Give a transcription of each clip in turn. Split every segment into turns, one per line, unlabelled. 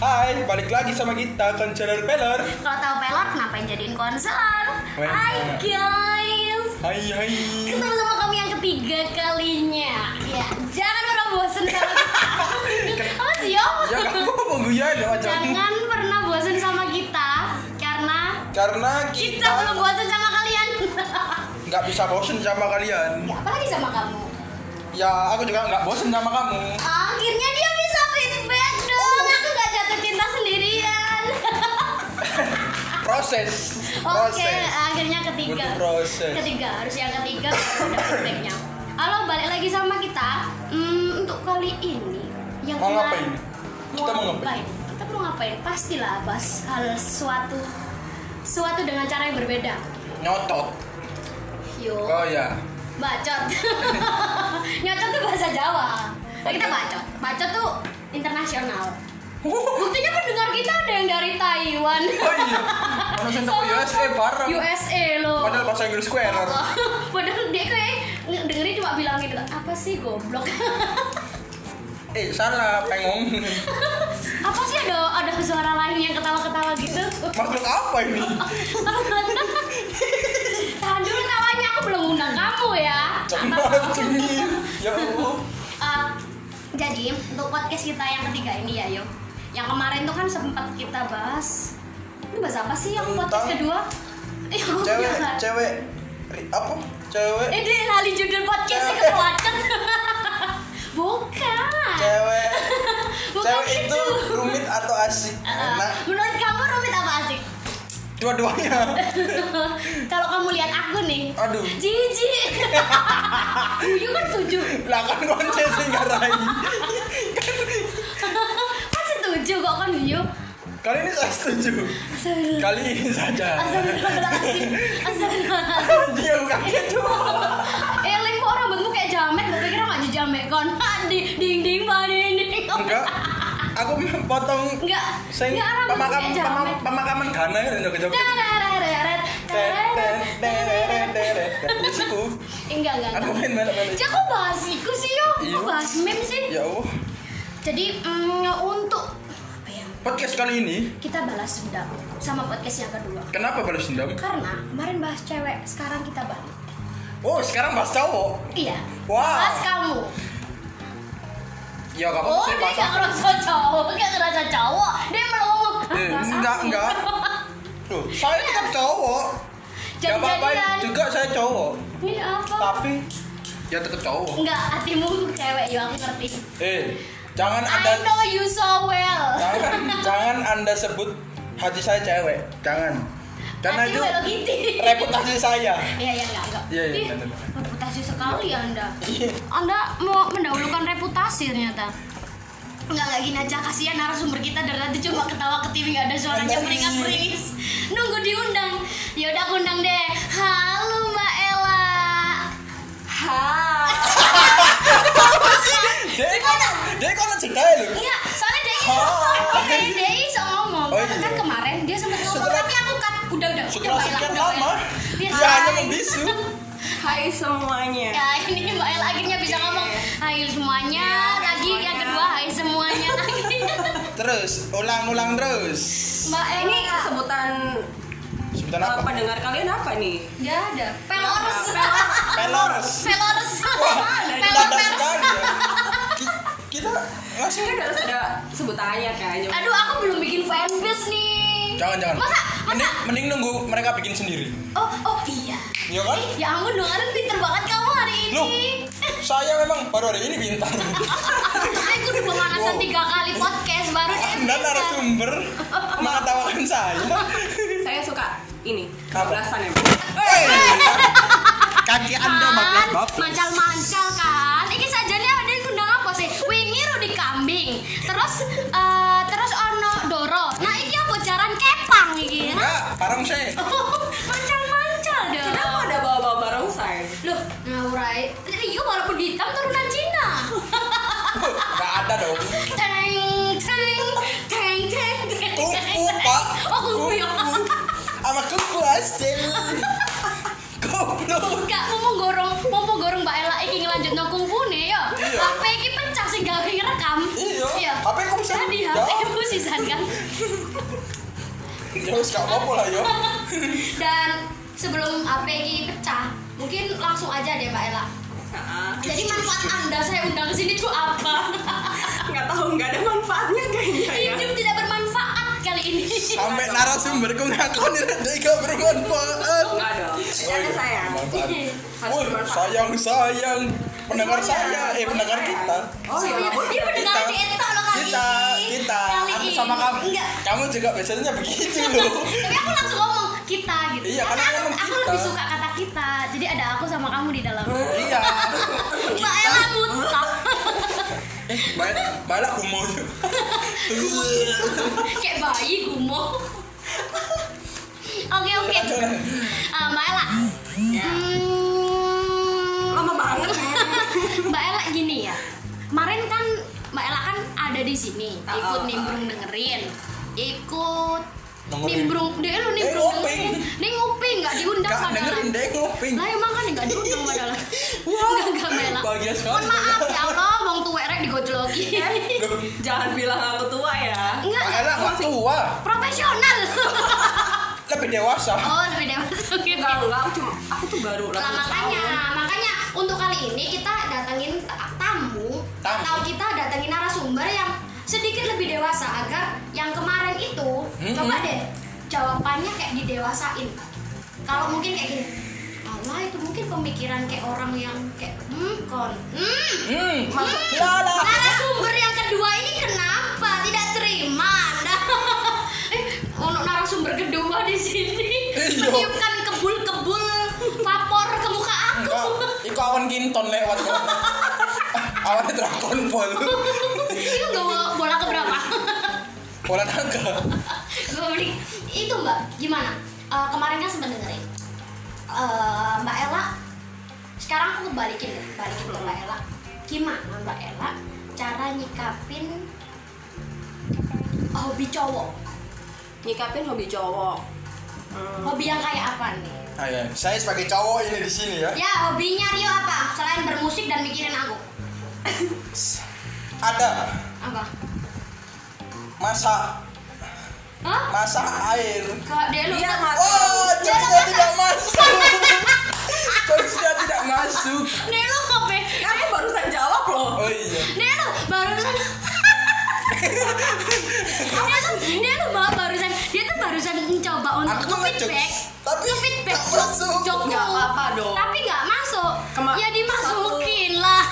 balik lagi sama kita konselor pelor.
Kalau tahu pelor, kenapa yang jadiin konselor?
Wah.
Hai guys,
Hai hai.
ketemu sama kami yang ketiga kalinya. Ya, jangan pernah bosan sama kita. Apa sih Om?
Ya kamu mau guyon macam.
Jangan pernah bosan sama kita karena
Karena
kita belum
kita
bosan sama kalian.
nggak bisa bosen sama kalian.
ya, apa lagi sama kamu?
Ya aku juga nggak bosen sama kamu.
Akhirnya dia bisa feedback dong. Aku gak jatuh cinta sendirian.
Proses.
Oke,
Proses.
akhirnya ketiga.
Butuh proses.
Ketiga, harus yang ketiga baru ada feedbacknya. Halo, balik lagi sama kita. Hmm, untuk kali ini yang
Mau
kemarin-
ngapain? Kita mau ngapain?
Kita mau ngapain? Pastilah bahas hal suatu suatu dengan cara yang berbeda.
Nyotot.
Yo,
Oh ya.
bacot. Nyocot tuh bahasa Jawa. Nah, kita bacot. Bacot tuh internasional.
Oh
Buktinya pendengar kita ada yang dari Taiwan.
iya. Mana sih
Sama-
USA bareng.
USA loh.
Padahal bahasa Inggris ku error.
Padahal dia kayak nge- dengerin cuma bilang gitu apa sih goblok
Eh salah pengong.
apa sih ada ada suara lain yang ketawa-ketawa gitu
Makhluk apa ini?
tahan dulu tawanya aku belum undang kamu ya
Cepat ini. Ya Allah.
Eh, jadi untuk podcast kita yang ketiga ini ya yo yang kemarin tuh kan sempat kita bahas ini bahas apa sih yang podcast
Tentang
kedua Ih, aku
cewek
nggak-
cewek ri- apa cewek
Eh, dia lali judul podcastnya
Cewek.
kepelacet bukan
cewek
Bukan
cewek
itu.
itu rumit atau asik
Eh, eh,
enak
menurut kamu rumit apa asik?
dua-duanya
Kalau kamu lihat aku nih,
aduh
jijik. Guyu kan setuju.
lah kan konce singgarai
kan setuju kok kan guyu.
kali ini saya setuju
Astagfirullah.
kali ini saja
Astagfirullahaladzim. Astagfirullahaladzim.
dia bukan gitu
Eh, Ling, kok rambutmu kayak jamet? Gue pikir maju jamet kon. Di ding ding ba ding ding.
enggak aku potong
Enggak.
sing
Enggak rambutmu
pemakam
kayak
pema-
jamet.
pemakaman Ghana ya joget-joget
Tararararat, tararararat. Enggak, enggak,
aku
enggak.
main main-main
Cak, kok bahas iku sih yo?
Iya.
Kok bahas meme sih?
ya Allah
Jadi mm, untuk apa ya?
podcast kali ini
Kita balas dendam sama podcast yang kedua.
kenapa balas dendam
Karena kemarin bahas cewek, sekarang kita balik.
oh sekarang bahas cowok
Iya.
Wow.
Bahas kamu.
Ya gak
Oh,
apa-apa sih
dia
Mas.
nggak ngerasa cowok, nggak ngerasa cowok, dia melongo.
Eh,
Bahas
enggak,
aku.
enggak. Loh, saya ini kan cowok. Gak apa-apa
Jadi-jadian.
juga saya cowok.
Ini apa?
Tapi ya tetap cowok.
Enggak, hatimu cewek, ya aku ngerti.
Eh, jangan
I
Anda
know you so well.
jangan jangan Anda sebut hati saya cewek. Jangan. Karena
Hati
itu
Hello Kitty.
reputasi saya.
Iya, iya, enggak, enggak.
Iya, iya,
Ih,
bener, Iya. bener.
Reputasi sekali Anda. Anda mau mendahulukan reputasi ternyata. Enggak, enggak gini aja. Kasihan narasumber kita dari tadi cuma ketawa ketiwi nggak ada suaranya
Anjay.
meringas-meringis. Nunggu diundang. Ya udah aku undang deh. Halo Mbak Ella. Hai.
Dia kan dia kan ceritanya loh.
Enggak, Iya, soalnya dia
Hai.
ngomong, dia iso ngomong.
Oh,
Kan-
iya.
Kan kemarin dia sempat ngomong
Setelah-
tapi aku cut. Udah, udah, udah
Setelah
Mbak Ella,
sekian
udah, Iya, Mbak
lama,
Ella.
dia
Hai.
hanya membisu.
Hai semuanya.
Ya ini Mbak El akhirnya bisa ngomong Hai semuanya
Ya, hai
Lagi
semuanya.
yang kedua Hai semuanya
Terus ulang-ulang terus.
Mbak El
Ini sebutan
Sebutan
uh,
apa?
pendengar kalian apa nih?
Ya ada Pelors
Pelors.
Pelors
Wah,
Pelors
dadak sekali ya. Ki- Kita ngasih
Kan harus ada sebutannya kayaknya.
Aduh aku belum bikin fanbase nih
Jangan jangan.
Masa Masa
Mending, mending nunggu mereka bikin sendiri.
Oh oh iya
Iya kan?
Ya ampun dong Arin pinter banget kamu hari ini
Loh. Saya memang baru hari ini bintang.
Aku udah pemanasan
Wow.
tiga kali podcast Baru kan. dia
Anda narasumber mengatawakan saya.
Saya suka ini.
Apa?
Belasan ya.
Eh.
Hei, Kaki Anda
kan
bagus.
mancal-mancal kan ini sajane ada yang kundang apa sih wingi rudi kambing terus eh, terus ono doro nah ini apa jaran kepang iki ya?
Enggak, parang saya.
mancal-mancal dong
Kenapa ada bawa-bawa barongsai?
loh ngawurai iya walaupun hitam turunan Cina
Enggak ada dong.
teng teng teng teng teng
Kuku, Pak.
oh kuku ya
Sama kuku hasil. Goblok.
Enggak, mumpung gorong, mumpung gorong Mbak Ela iki ngelanjut no kungfune yo.
Iya.
HP iki pecah sing gawe ngerekam.
Iya. HP ku bisa
Tadi ya?
buka.
HP ku sisan kan.
Ya wis gak apa-apa lah yo.
Dan sebelum APG pecah, mungkin langsung aja deh Mbak Ella.
Nah,
Jadi manfaat Anda saya undang ke sini tuh apa?
nggak tahu nggak ada manfaatnya kayaknya
Iya.
ya.
Hidup tidak bermanfaat kali ini.
Sampai narasumberku ngaku nih dia gak bermanfaat.
Nggak dong.
Iya,
Bercanda saya.
Bermanfaat.
Harus
Woi,
bermanfaat.
sayang sayang pendengar saya, eh
Oh,
pendengar
saya.
kita.
Oh iya.
Iya,
boleh.
iya pendengar
Kita-
Deta loh kali
Kita,
ini.
kita,
Kali
aku
ini.
sama kamu.
Enggak.
Kamu juga biasanya begitu loh.
Tapi aku langsung ngomong kita gitu.
Iya, karena
aku,
ngomong
aku
kita.
lebih suka kata kita. Jadi ada aku sama kamu di dalam.
Iya.
Mbak Ella muntah.
Eh, balik balik aku mau.
Kayak bayi gumoh. Oke oke. Ah, Mbak Ella. Hmm,
Lama banget. ya.
Mbak Ella gini ya. Kemarin kan Mbak Ella kan ada di sini,
Ah,
ikut
Oh, oh,
nimbrung dengerin, ikut
Dengerin.
nimbrung, dia lu nimbrung
nguping.
dengerin, dia nguping nggak diundang
Gak Eh, dengerin
padahal.
deh ngoping.
Lah emang kan nggak diundang padahal. Enggak enggak Mbak Ella.
eh, Bahagia
Mohon
sekali.
maaf ya Allah, bang tuwek rek digojloki.
Loh,
Jangan bilang aku tua ya.
Enggak,
Mbak Ella nggak tua,
profesional.
lebih dewasa.
Oh, lebih dewasa. Oke, oke.
Enggak, enggak, aku cuma aku tuh baru
Nah,
delapan
makanya,
tahun.
makanya untuk kali ini kita datengin ta- tamu,
Tamu.
atau kita datengin narasumber yang sedikit lebih dewasa agar yang kemarin itu
Mm-mm.
coba deh jawabannya kayak didewasain. Kalau mungkin kayak gini, Allah itu mungkin pemikiran kayak orang yang kayak hmm kon, hmm
Hmm.
Hmm,
Lala.
narasumber yang kedua ini kenapa tidak terima Anda? eh, ono narasumber kedua di sini.
Iya.
Meniupkan kebul-kebul vapor ke muka aku.
Iku, iku awan kinton lewat kok. awan dragon ball.
Itu nggak mau bola keberapa?
Bola naga.
Gua beli. Itu Mbak, gimana? Eh, kemarin kan sempat dengerin. Eh, Mbak Ella, sekarang aku balikin deh, balikin ke Mbak Ella. Gimana Mbak Ella cara nyikapin hobi cowok?
Nyikapin hobi cowok. Hmm.
Hobi yang kayak apa nih?
Ayo, saya sebagai cowok ini di sini ya.
Ya, hobinya Rio apa? Selain bermusik dan mikirin aku.
Ada
Apa?
masak,
Hah?
masak air.
Kalau dia lu
Dia
enggak.
masak.
Oh, jokesnya tidak masuk. Jokesnya tidak masuk.
Dia lu kopi.
Kamu barusan jawab loh.
Oh iya.
Dia lu barusan dia tuh dia tuh baru- barusan dia tuh barusan mencoba
Aku tuh
untuk feedback
ngejokes, tapi
feedback
nggak masuk.
jokku
Nggak apa-apa dong.
tapi nggak masuk
Kema-
ya dimasukin lah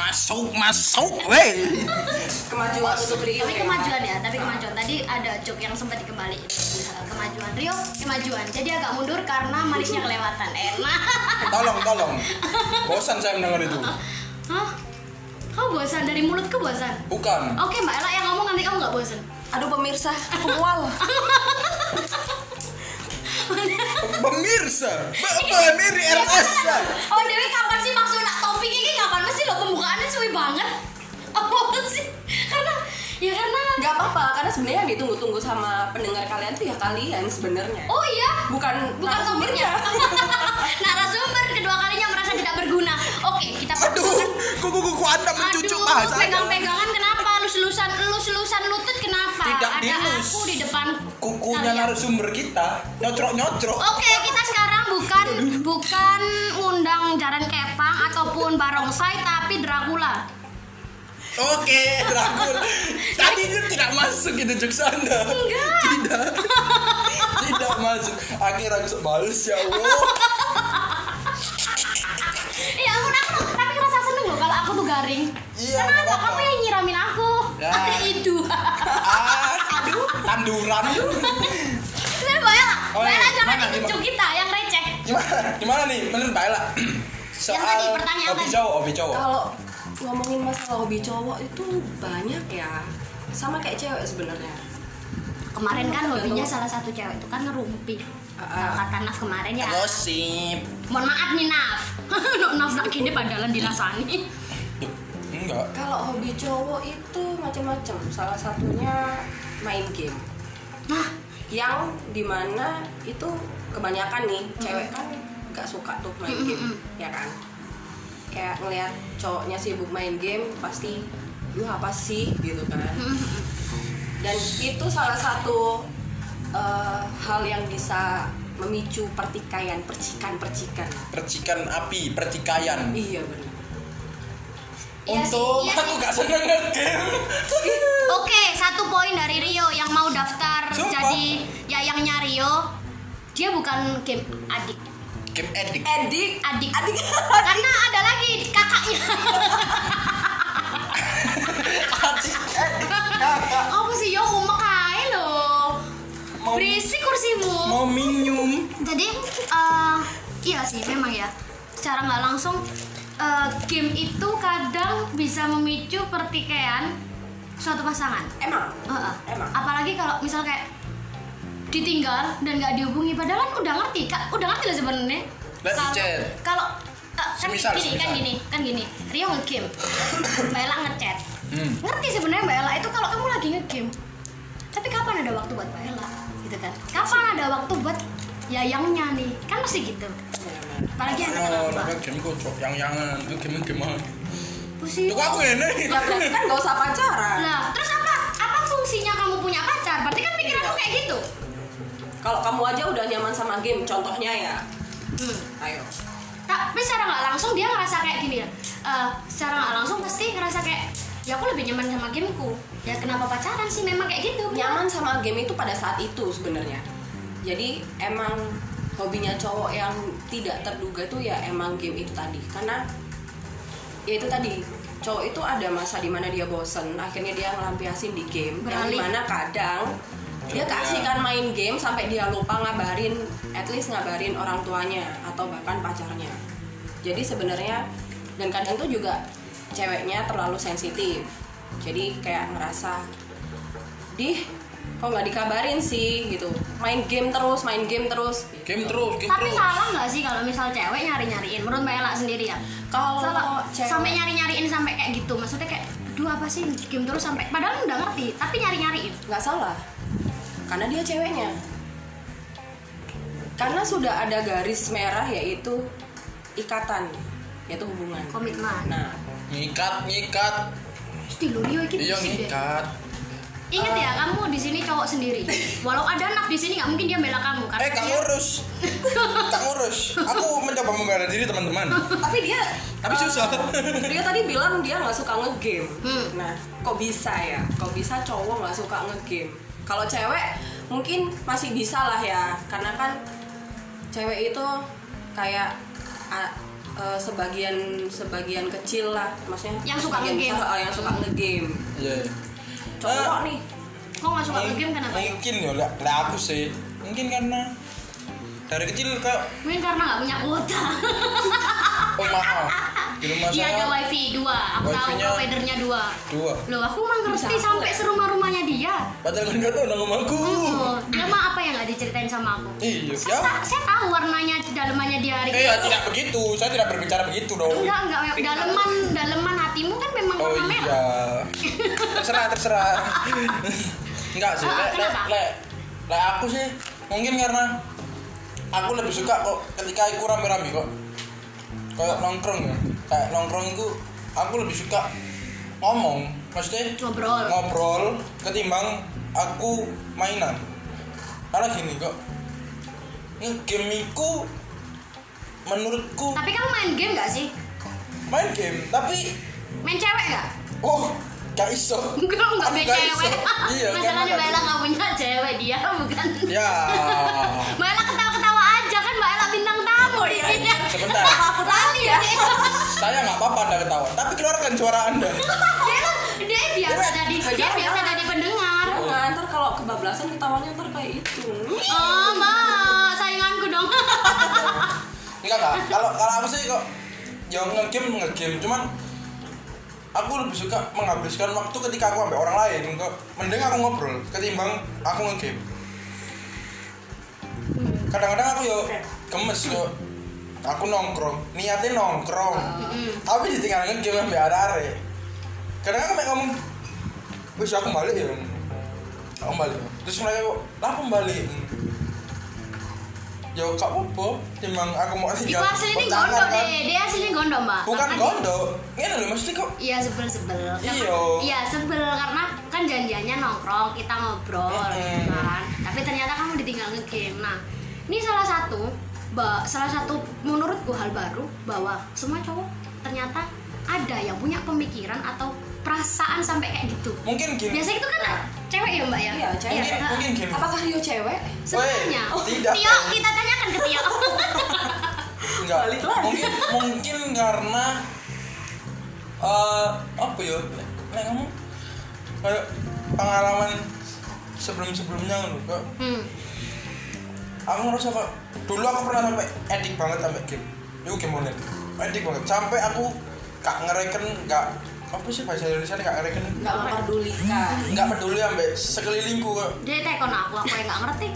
Masuk, masuk, weh.
Kemajuan untuk Rio.
tapi
ya.
kemajuan ya tapi kemajuan tadi ada joke yang sempat dikembaliin Eh, kemajuan Rio kemajuan jadi agak mundur karena manisnya kelewatan enak
Tolong, tolong. Bosan saya mendengar itu.
Hah? Kau bosan dari mulutku bosan?
Bukan.
Oke Mbak Ella yang ngomong nanti kamu nggak bosan.
Aduh pemirsa, aku mual.
Pemirsa, pemiri RS. Shay.
Iya, oh Dewi kapan sih maksud nak topik ini kapan sih lo pembukaannya suwi banget? Apa sih? Karena ya karena
Gak apa-apa, karena sebenarnya yang ditunggu-tunggu sama pendengar kalian tuh ya kalian sebenarnya.
oh iya
Bukan
bukan topiknya. Narasumber kedua kalinya merasa tidak berguna. Oke kita
Aduh, kuku kuku anda mencucuk bahasa.
pegang-pegangan kenapa? Lus-lusan, lus-lusan lutut kenapa?
Tidak
Ada
dilus.
aku di depanku.
Kukunya
Kalian.
narasumber kita nyocrok nyocrok.
Oke, kita sekarang bukan bukan undang Jaran Kepang ataupun Barongsai tapi Dracula.
Oke, Dragul. Tadi itu tidak masuk itu jokes anda.
Enggak.
Tidak. Tidak masuk. Akhirnya aku sebales ya Allah.
Ya ampun aku tapi ngerasa seneng loh kalau aku tuh garing.
Iya, nggak
Kenapa
apa-apa.
kamu yang nyiramin aku?
Ya.
Ada itu.
Ah, aduh, tanduran.
Ini Bayla,
Oh, iya.
Bayla jangan
Gimana,
ikut
gimana?
kita yang receh.
Gimana? Gimana nih? Menurut Mbak Ella?
Yang tadi, pertanyaan Oh,
hobi
tadi.
cowok, hobi cowok.
Kalau ngomongin masalah hobi cowok itu banyak ya. Sama kayak cewek sebenarnya.
Kemarin kan
Iya,
hobinya salah satu cewek itu kan ngerumpi.
Ah, ah.
Kata Naf kemarin ya.
Gosip.
Mohon maaf nih Naf. Nuk Naf nak gini padahal dirasani.
Duh, Enggak.
Kalau hobi cowok itu macam-macam. Salah satunya main game.
Nah,
yang dimana itu kebanyakan nih cewek kan gak suka tuh main
Mm-mm.
game ya kan kayak ngelihat cowoknya sibuk main game pasti lu apa sih gitu kan dan itu salah satu eh, hal yang bisa memicu pertikaian percikan-percikan
Percikan api, pertikaian.
iya benar
Iya sih,
Untung
iya
aku
sih.
gak seneng nge-game.
Oke, satu poin dari Rio yang mau daftar
Sumpah.
jadi yayangnya Rio. Dia bukan game adik,
Game edik.
edik
adik,
Eh, Adik.
Karena ada lagi kakaknya.
Adik edik. Kakak
Apa sih yo umek ae lho.
Mau-
Berisik kursimu.
mau minum.
Jadi eh, iya sih memang ya. Secara nggak langsung eh, game itu kadang bisa memicu pertikaian suatu pasangan.
emang
Heeh.
Emang?
Apalagi kalau misal kayak ditinggal dan nggak dihubungi padahal kan udah ngerti kak udah ngerti lah sebenarnya
Lah,
Kalau-
di-chat.
kalau eh, kan
Semisal,
gini kan
semisal.
gini kan gini Rio ngegame Mbak Ella ngechat
Hmm.
ngerti sebenarnya Mbak Ella itu kalau kamu lagi ngegame tapi kapan ada waktu buat Mbak Ella gitu kan kapan ada waktu buat yayangnya nih kan pasti gitu apalagi yang
Oh,
kenapa
naga game kocok yang yangan. Itu game game apa?
pusing
Tuh aku ini.
ya berarti kan gak usah pacaran
lah terus apa apa fungsinya kamu punya pacar berarti kan
Iya.
pikiranmu kayak gitu
kalau kamu aja udah nyaman sama game contohnya ya
hmm.
ayo
Nah, tapi secara nggak langsung dia ngerasa kayak gini ya Eh, secara nggak langsung pasti ngerasa kayak ya aku lebih nyaman sama gameku ya kenapa pacaran sih memang kayak gitu
Iya,
nyaman sama game itu pada saat itu sebenarnya jadi emang hobinya cowok yang tidak terduga tuh ya emang game itu tadi karena ya itu tadi cowok itu ada masa dimana dia bosen akhirnya dia ngelampiasin di game yang
Beralih.
dimana kadang dia keasikan main game sampai dia lupa ngabarin at least ngabarin orang tuanya atau bahkan pacarnya jadi sebenarnya dan kadang tuh juga ceweknya terlalu sensitif jadi kayak ngerasa dih kok nggak dikabarin sih gitu main game terus main game terus
Game terus, game
tapi
terus.
salah nggak sih kalau misal cewek nyari nyariin menurut mbak Ella sendiri ya
kalau
salah sampai
Oh, cewek
nyari nyariin sampai kayak gitu maksudnya kayak aduh apa sih game terus sampai padahal udah ngerti tapi nyari nyariin
nggak salah karena dia ceweknya karena sudah ada garis merah yaitu ikatan yaitu hubungan
komitmen
nah
Ngikat, ngikat.
pasti lo Rio ini
Iya
pusing deh.
ngikat.
Ingat ya, kamu di sini cowok sendiri. Walau ada anak di sini nggak mungkin dia bela kamu karena
Eh, Kang
dia-
Urus.
ya?
Kang Urus. Aku mencoba membela diri, teman-teman.
tapi dia
Tapi
eh,
susah.
dia tadi bilang dia nggak suka ngegame
Hmm.
nah kok bisa ya kok bisa cowok nggak suka ngegame kalau cewek mungkin masih bisa lah ya karena kan cewek itu kayak ah, eh, sebagian sebagian kecil lah maksudnya
Yang suka
sebagian
ngegame. Hmm.
besar, eh, yang suka ngegame
Iya.
cowok
Eh,
nih
kok nggak suka game kenapa?
Mungkin ya, lah lah aku sih. Mungkin karena dari kecil ke
Mungkin karena nggak punya kuota.
oh maaf di rumah
Iya ada
saya
wifi dua, aku tahu
wifi-nya-
providernya dua.
dua.
Loh aku mah ngerti
Bisa.
sampai serumah-rumahnya dia.
Padahal kan nggak tahu nama aku.
Oh, dia mah apa yang nggak diceritain sama aku?
Iya,
Saya,
siapa?
ta- saya tahu warnanya dalemannya dia hari
Eh, ya, tidak begitu. Saya tidak berbicara begitu dong.
Enggak, enggak, Web. daleman, daleman hatimu kan memang
Oh
warna merah.
iya. Terserah, terserah. Enggak sih.
Ah,
Lek, lek,
kenapa?
lek. Lek aku sih mungkin karena aku lebih suka kok ketika aku rame-rame kok. Kayak nongkrong ya. Kayak nongkrong itu aku lebih suka ngomong. Maksudnya
Ngobrol.
ngobrol ketimbang aku mainan karena gini kok ngegamiku menurutku
Tapi kamu main game nggak sih?
main game tapi
Main cewek nggak?
oh gak iso
Enggak, enggak
Aku
main
gak
cewek.
iso. iya kan,
Masalahnya
makanya.
Mbak Ella nggak punya cewek dia, bukan?
ya
Mbak Ella ketawa-ketawa aja kan Mbak Ella bintang tamu di sini.
Oh, iya, Sebentar. Iya.
Aku tadi ya.
saya nggak apa-apa anda ketawa tapi keluarkan suara anda
dia dia biasa
Iya.
jadi dia biasa jadi pendengar.
Jangan, Iya, ntar kalau kebablasan ketawanya ntar kayak itu
Oh, Mbak, sainganku dong.
Iya. enggak enggak kalau kalau aku sih kok yang ngegame ngegame cuman aku lebih suka menghabiskan waktu ketika aku ambil orang lain kok mending aku ngobrol ketimbang aku ngegame
Hmm.
kadang-kadang aku yo gemes yo aku nongkrong niatnya nongkrong
Hmm.
tapi ditinggal ngegame ambil arek-arek kadang aku mek ngomong wis aku balik ya aku balik terus mereka kok lah aku balik Yo, kak apa? Timbang aku mau
Iku
tinggal.
asli ini
pecangan,
gondok
kan.
deh, dia asli ini gondok Mbak.
Bukan
Makanya-
gondok. Ini loh maksudnya kok
Iya sebel sebel.
Iya.
Iya sebel karena kan kan janjiannya nongkrong kita ngobrol gitu kan tapi ternyata kamu ditinggal ngegame nah ini salah satu ba- salah satu menurutku hal baru bahwa semua cowok ternyata ada yang punya pemikiran atau perasaan sampai kayak gitu
mungkin gini
biasanya itu kan cewek ya mbak ya
Iya, cewek.
Iya. mungkin
Nah,
mungkin gini
Apakah Rio cewek?
sebenarnya
Weh, oh, tidak.
Tio kita tanyakan ke Tio
enggak
Balik lagi.
mungkin mungkin karena eh apa ya nek kamu kayak pengalaman sebelum sebelumnya loh kok
hmm.
aku ngerasa kok dulu aku pernah sampai edik banget sampai game itu game online edik banget sampai aku gak ngereken gak apa sih bahasa Indonesia gak ngereken
Enggak memperdulikan.
gak peduli sampai sekelilingku kok
jadi tekon aku aku yang nggak ngerti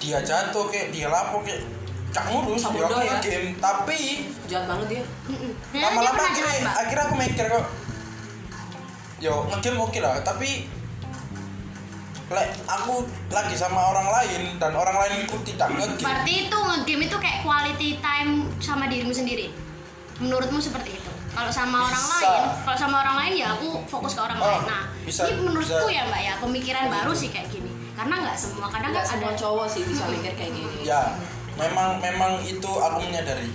dia jatuh kayak dia lapor kayak gak ngurus
Sama
dia aku
doa ya.
game tapi
Jahat banget dia.
Mm-mm. Ternyata Hmm, dia
lama-lama
pernah
aku
jahat,
mi-
Mbak.
akhirnya aku mikir kok yo ngegame oke lah tapi lek aku lagi sama orang lain dan orang lain itu tidak ngegame
Berarti itu ngegame itu kayak quality time sama dirimu sendiri. Menurutmu seperti itu? Kalau sama orang
Bisa.
lain, kalau sama orang lain ya aku fokus ke orang
Oh,
lain. Nah,
bisa,
ini menurutku
bisa.
ya Mbak ya pemikiran baru sih kayak gini. Karena nggak semua, kadang nggak
Enggak
ada.
semua cowok sih bisa mikir kayak gini.
ya memang memang itu aku menyadari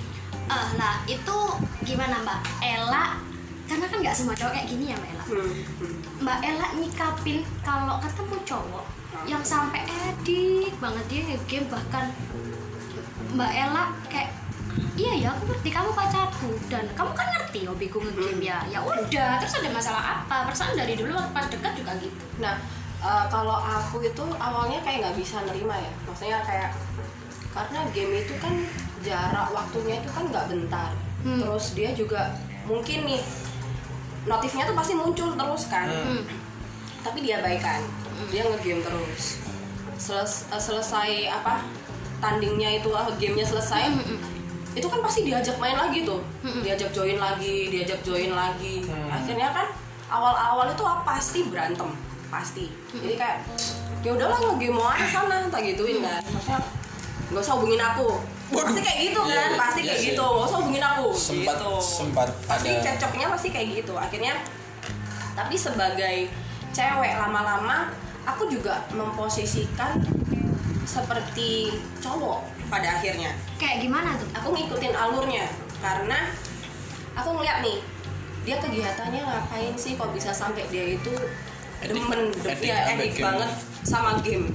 Ah, nah itu gimana Mbak Ella? Karena kan nggak semua cowok kayak gini ya Mbak Ella. Mbak Ella nyikapin kalau ketemu cowok yang sampai edik banget dia game bahkan Mbak Ella kayak iya ya aku ngerti kamu pacarku dan kamu kan ngerti hobiku ngegame ya ya udah terus ada masalah apa perasaan dari dulu waktu pas dekat juga gitu
Nah, eh, kalau aku itu awalnya kayak nggak bisa nerima ya. Maksudnya kayak karena game itu kan jarak waktunya itu kan nggak bentar.
Hmm.
Terus dia juga mungkin nih notifnya tuh pasti muncul terus kan.
hmm.
Tapi dia baikan. Dia ngegame terus. Seles- eh, selesai apa tandingnya itu ah, gamenya
Hmm,
selesai
hmm, hmm.
itu kan pasti diajak main lagi tuh
Mm-mm.
diajak join lagi diajak join lagi
Hmm.
akhirnya kan awal-awal itu lah pasti berantem pasti jadi kayak ya udahlah ngegame mau aja sana tak gituin kan maksudnya nggak usah hubungin aku pasti kayak gitu
Iya,
kan
iya,
pasti
iya
kayak
sih.
gitu nggak usah hubungin aku
sempat
gitu
sempat
pasti
ada
cocoknya pasti kayak gitu akhirnya tapi sebagai cewek lama-lama aku juga memposisikan seperti cowok pada akhirnya
kayak gimana tuh
aku ngikutin alurnya karena aku ngeliat nih dia kegiatannya ngapain sih kok bisa sampai dia itu
Edik.
demen de-
Edik
ya,
sampai
edik
game.
banget sama game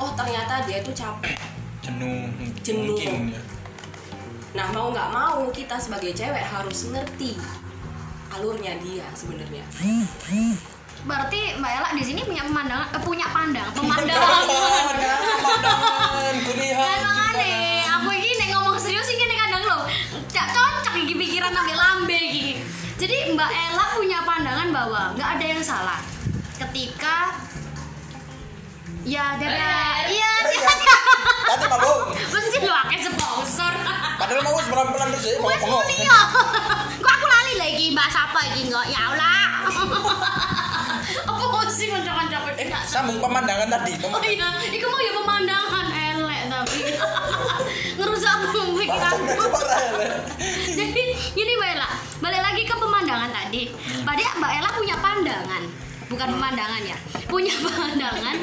oh ternyata dia itu capek
jenuh
Jenuh.
mungkin ya
nah mau nggak mau kita sebagai cewek harus ngerti alurnya dia sebenarnya
berarti Mbak Ella di sini punya pemandangan eh, punya pandang pemandangan
pemandangan pemandangan kulihat
Kan makane, aku iki nek ngomong serius iki nek kadang lho, gak cocok iki pikiran ambil lambe iki. Jadi Mbak Ella punya pandangan bahwa nggak ada yang salah ketika ya dadah iya
kita. tadi mabuk
mesti lu akeh sponsor
padahal mau sebelah pelan terus ya
wes
bengong-bengong.
muni yo kok aku lali lho iki mbak sapa iki kok ya Allah apa sih kanca-kanca
eh
gak
sambung pemandangan tadi
Oh
pemandangan.
iya, iku mau ya pemandangan elek tapi ngerusak
Langsung aja
pikiranku.
parah ya.
Jadi gini Mbak Ella, balik lagi ke pemandangan tadi. Tadi Mbak Ella punya pandangan, bukan pemandangan ya, punya pandangan,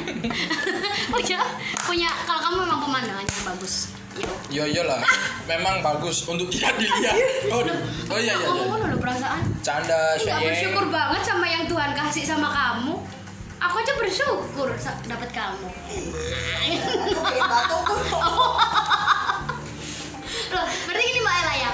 punya punya. Kalau kamu memang pemandangannya bagus, ya.
Yo yo lah, Iya, memang bagus untuk dia dilihat. Oh, oh iya iya.
Kamu
iya.
kan perasaan.
Canda,
Enggak
Sheyeng.
bersyukur banget sama yang Tuhan kasih sama kamu. Aku aja bersyukur sa- dapat kamu. Loh, berarti gini Mbak Ella ya.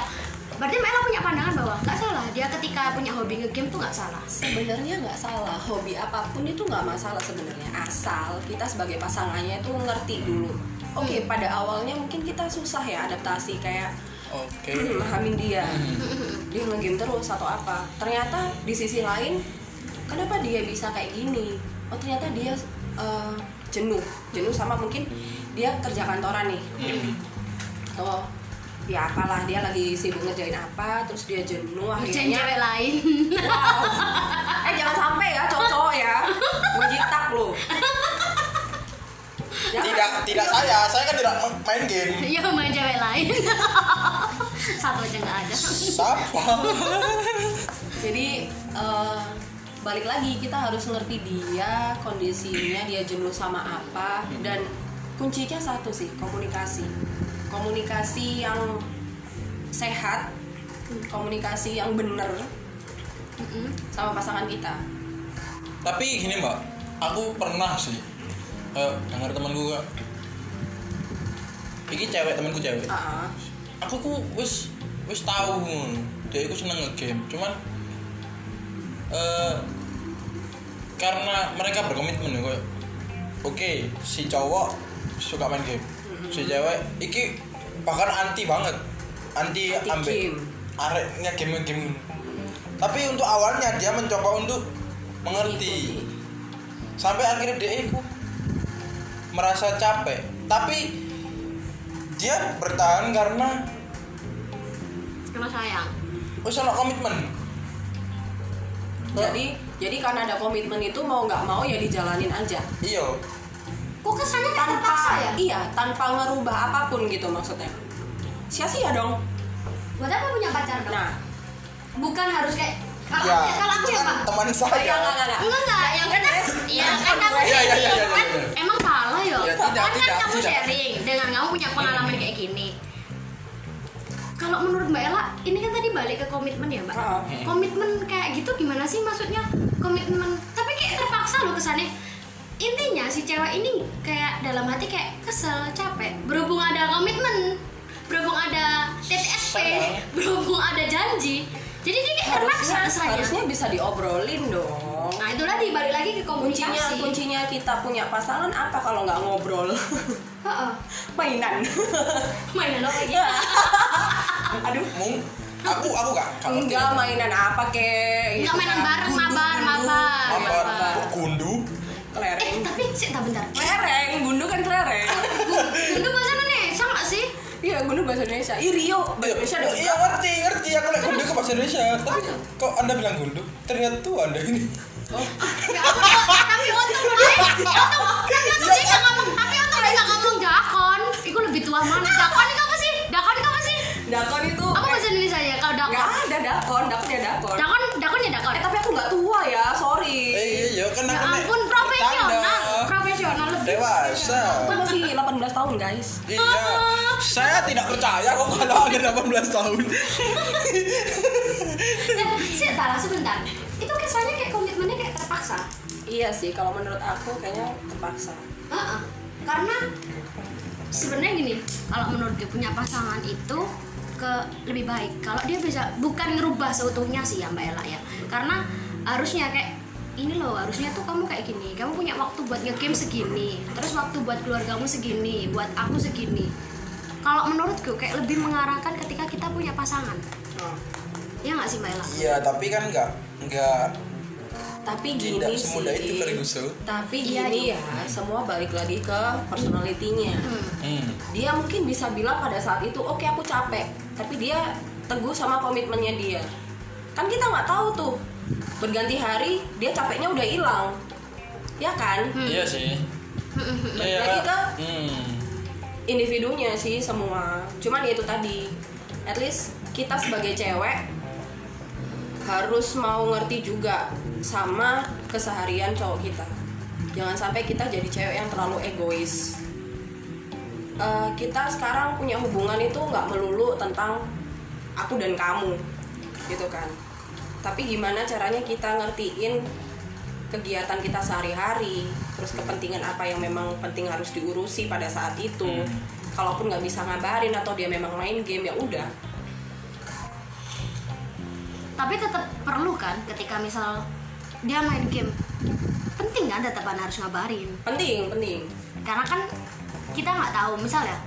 Berarti Mbak Ella punya pandangan bahwa nggak salah dia ketika punya hobi nge-game tuh nggak salah.
sebenarnya nggak salah hobi apapun itu nggak masalah sebenarnya asal kita sebagai pasangannya itu ngerti dulu oke
Hmm.
pada awalnya mungkin kita susah ya adaptasi kayak
Oke.
memahami dia dia ngegame terus atau apa ternyata di sisi lain kenapa dia bisa kayak gini oh ternyata dia eh, jenuh jenuh sama mungkin dia kerja kantoran nih atau ya apalah dia lagi sibuk ngerjain apa terus dia jenuh
Ngerjain
akhirnya
Oh, cewek lain.
Wow. Eh jangan sampai ya cowok-cowok ya. Gue jitak lo.
Tidak tidak saya, saya kan tidak ma- main game.
Iya main cewek lain. Satu aja nggak ada.
Siapa?
Jadi eh, balik lagi kita harus ngerti dia kondisinya dia jenuh sama apa dan kuncinya satu sih komunikasi komunikasi yang sehat komunikasi yang bener
Mm-mm.
sama pasangan kita
tapi gini mbak aku pernah sih eh, dengar temen gue ini cewek temanku cewek
Ah,
aku ku wis wis tahu dia ku seneng ngegame cuman eh karena mereka berkomitmen ya kayak, oke si cowok suka main game
Mm-hmm.
si cewek iki bahkan anti banget anti,
Anti
ambek
game.
arek game game tapi untuk awalnya dia mencoba untuk mengerti sampai akhirnya dia itu merasa capek tapi dia bertahan karena
karena sayang
wis ono komitmen
jadi jadi karena ada komitmen itu mau nggak mau ya dijalanin aja
iya
kok kesannya kayak terpaksa ya
tanpa iya tanpa ngerubah apapun gitu maksudnya sia-sia dong
buat apa punya pacar dong
nah
bukan harus kayak kalau
ya
aku ya kalau aku
itu
ya
kan
pak
teman
enggak
saya
enggak enggak
Enggak enggak, yang kan ya kan kamu
Iya, iya,
sharing
iya, iya,
kan
iya.
emang salah ya.
Ya,
Kan
tidak,
kan
tidak,
kamu
tidak.
sharing dengan kamu punya pengalaman kayak gini. Kalau menurut Mbak Ella, ini kan tadi balik ke komitmen ya, Mbak.
Ah.
Komitmen kayak gitu gimana sih maksudnya? Komitmen tapi kayak terpaksa loh kesannya. Intinya si cewek ini kayak dalam hati kayak kesel, capek. Berhubung ada komitmen, berhubung ada TTSP,
Sayang.
berhubung ada janji. Jadi dia kayak terpaksa
harusnya
kesannya.
harusnya bisa diobrolin dong
Nah itu tadi balik lagi ke komunikasi.
kuncinya kuncinya kita punya pasangan apa kalau nggak ngobrol
Heeh.
mainan
Mainan apa lagi?
aduh
mung aku aku gak kalau gitu.
enggak mainan apa kek
Enggak
gitu
mainan
kan.
bareng, mabar, mabar,
apa
mabar.
kok gundu
kelereng
Eh tapi sih, tak bentar.
kelereng bundu kan kelereng
Gundu bahasa Indonesia nggak sih?
iya bundu bahasa Indonesia Ih, Rio bahasa Indonesia ada
iya iya, ngerti ngerti aku lihat gundu ke bahasa Indonesia tapi kok anda bilang gundu ternyata tuh anda ini
Ya aku tapi untung loh deh. Untung, tapi untung dia nggak ngomong. Tapi untung dia nggak ngomong dakon. Iku lebih tua
Ah,
mana? Dakon itu apa sih? Dakon itu apa sih?
dakon itu Eh,
Apa bahasa Indonesia ya? Kalau dakon,
nggak ada dakon dakon ya dakon
dakon, dakon ya dakon.
eh tapi aku nggak tua ya sorry
eh iya iya kan aku
Ya
nek-
ampun
tanda.
profesional, profesional lebih.
dewasa
aku masih 18 tahun guys
iya saya tidak percaya kok kalau ada 18 tahun
Eh, Sih, taruh sebentar. Itu kesannya kayak komitmennya kayak terpaksa.
iya sih kalau menurut aku kayaknya terpaksa
Heeh. Karena sebenarnya gini, kalau menurut gue punya pasangan itu ke lebih baik. Kalau dia bisa bukan ngerubah seutuhnya sih ya Mbak Ella ya. Karena harusnya kayak ini loh harusnya tuh kamu kayak gini kamu punya waktu buat nge-game segini terus waktu buat keluargamu segini buat aku segini kalau menurutku kayak lebih mengarahkan ketika kita punya pasangan
Nah,
Hmm.
ya nggak sih mbak Ella
iya tapi kan nggak nggak
tapi gini
tidak
sih
semudah itu Ferguson
tapi
Iya,
gini ya semua balik lagi ke personalitinya
Hmm.
hmm.
dia mungkin bisa bilang pada saat itu oke aku capek tapi dia teguh sama komitmennya dia kan kita nggak tahu tuh berganti hari dia capeknya udah hilang ya kan
Hmm.
iya sih Iya,
Lagi
Kak.
ke-
Hmm.
individunya sih semua cuman ya itu tadi at least kita sebagai cewek harus mau ngerti juga sama keseharian cowok kita jangan sampai kita jadi cewek yang terlalu egois Eh, kita sekarang punya hubungan itu nggak melulu tentang aku dan kamu gitu kan tapi gimana caranya kita ngertiin kegiatan kita sehari-hari terus kepentingan apa yang memang penting harus diurusi pada saat itu kalaupun nggak bisa ngabarin atau dia memang main game ya udah
tapi tetap perlu kan ketika misal dia main game penting kan tetapan harus ngabarin
penting penting
karena kan kita nggak tahu misal ya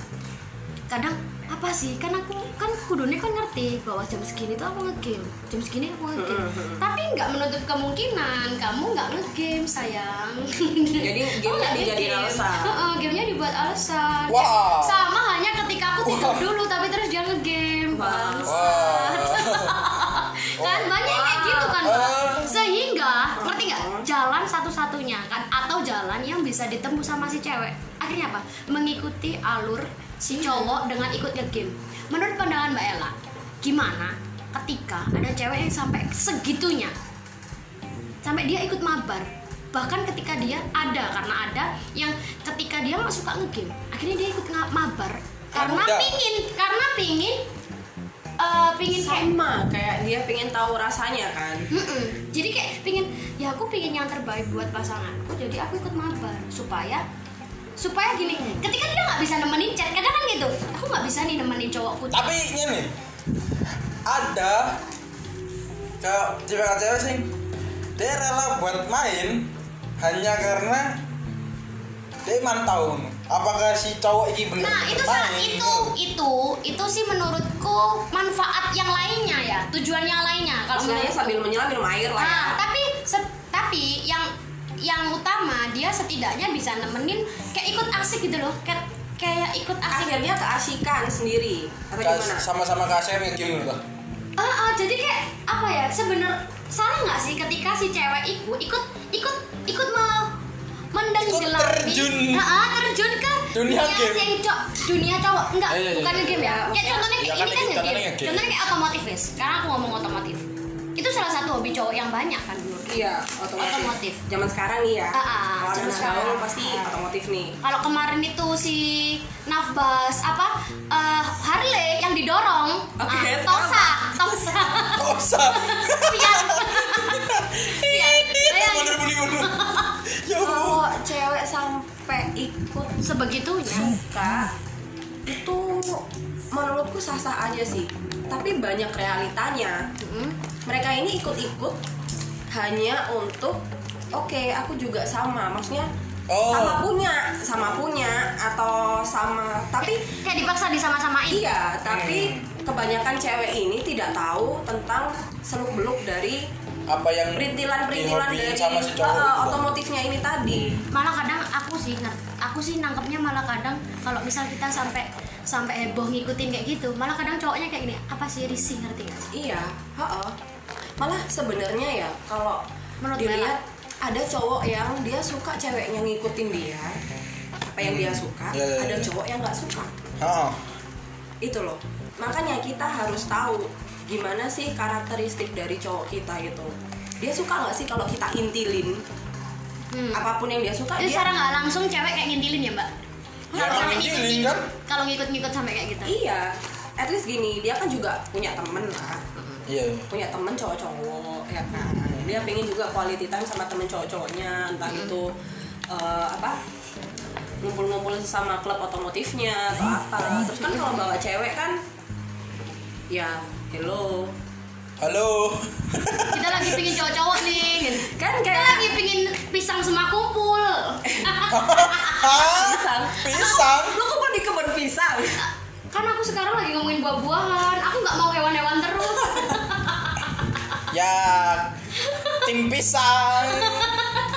kadang apa sih kan aku kan kudunya kan ngerti bahwa jam segini tuh aku ngegame jam segini aku ngegame
Mm, mm, mm.
tapi nggak menutup kemungkinan kamu nggak ngegame sayang Kamu
Jadi gamenya
nggak
dijadiin
ngegame.
alasan.
Heeh, gamenya dibuat alasan
Wah.
sama halnya ketika aku tidur
Wah.
dulu tapi terus dia ngegame
Wah.
Wah.
kan banyak yang kayak gitu kan Mbak.
Ah.
sehingga ngerti nggak jalan satu-satunya kan atau jalan yang bisa ditembus sama si cewek akhirnya apa mengikuti alur si cowok dengan ikut game menurut pandangan mbak Ella gimana ketika ada cewek yang sampai segitunya sampai dia ikut mabar bahkan ketika dia ada karena ada yang ketika dia nggak suka ngegame akhirnya dia ikut nga- mabar karena
Ada.
pingin karena pingin eh, pingin kayak
sama kayak dia pengen tahu rasanya kan
Mm-mm. Jadi kayak pingin, ya aku pingin yang terbaik buat pasanganku. Jadi aku ikut mabar supaya supaya gini. Ketika dia nggak bisa nemenin chat, kadang kan gitu. Aku nggak bisa nih nemenin cowokku. chat.
tapi ini ada ke cewek cewek sih dia rela buat main hanya karena dia mantau apakah si cowok ini benar
Nah itu salah itu itu itu sih menurutku manfaat yang lainnya ya tujuan yang lainnya kalau
maksudnya
menurutku.
sambil menyelam minum air lah ya
Nah, tapi se- tapi yang yang utama dia setidaknya bisa nemenin kayak ikut asik gitu loh kayak kayak ikut asik
akhirnya keasikan sendiri atau
Kas-
gimana
sama-sama kasih ngegame gitu
Ah, ah, jadi kayak apa ya? Sebenar salah nggak sih ketika si cewek itu ikut ikut ikut me, mendengelami-
terjun.
Ah, ah, terjun ke
Dunia game.
yang co- dunia cowok. Enggak,
Iya, iya,
bukan
iya.
game ya. Kayak contohnya
Iya, kan
kayak ini
ini-
kan
contohnya
game.
game.
Contohnya kayak otomotif wes. Karena aku ngomong otomotif. Itu salah satu hobi cowok yang banyak kan dulu.
iya otomotif.
Otomotif.
zaman sekarang nih ya
Ah, ah,
kalau
zaman
zaman
sekarang.
sekarang Ah. pasti otomotif nih
Kalau kemarin itu si Nafbas apa eh, Harley yang didorong,
Oke,
ah, Tosa, Tosa,
kok usah
Pian. Pian. Bayangin.
bener bener bener ya
Oh,
Allah.
kalau cewek sampai ikut
sebegitunya
suka itu menurutku sah-sah aja sih tapi banyak realitanya
Mm.
mereka ini ikut-ikut hanya untuk oke aku juga sama maksudnya
Oh.
sama punya sama punya atau sama tapi
kayak dipaksa disama-samain
iya tapi kebanyakan cewek ini tidak tahu tentang seluk beluk dari
apa yang
perintilan perintilan
dihobiin
dari
Iya, sama si
Ah,
cowok
eh,
gitu.
otomotifnya ini tadi
Hmm.
malah kadang aku sih nang- aku sih nangkepnya malah kadang kalau misal kita sampai sampai heboh ngikutin kayak gitu malah kadang cowoknya kayak gini apa sih risih ngerti gak sih
Iya, heeh. Malah sebenarnya ya kalau
Menurut
dilihat ada cowok yang dia suka ceweknya ngikutin dia apa yang dia suka,
Iya, iya,
ada
iya.
cowok yang nggak suka.
Ah,
Itu loh. Makanya kita harus tahu gimana sih karakteristik dari cowok kita itu. Dia suka nggak sih kalau kita intilin
hmm.
apapun yang dia suka
itu
dia
secara nggak langsung cewek kayak ngintilin ya mbak
Ya,
Kalau
emang
ngikut-ngikut-
ngintilin kan?
kalau ngikut-ngikut sampai kayak gitu
iya. At least gini, dia kan juga punya temen lah.
iya iya.
punya temen cowok-cowok ya kan dia pengen juga quality time sama temen cowok-cowoknya entah itu eh, apa ngumpul-ngumpul sama klub otomotifnya atau apa terus kan kalau bawa cewek kan ya hello
halo
kita lagi pingin cowok-cowok nih gitu. kita
kan kayak
lagi pingin pisang semua kumpul
Hah?
pisang
pisang
lu kumpul di kebun pisang
kan aku sekarang lagi ngomongin buah-buahan aku nggak mau hewan-hewan terus
ya tim pisang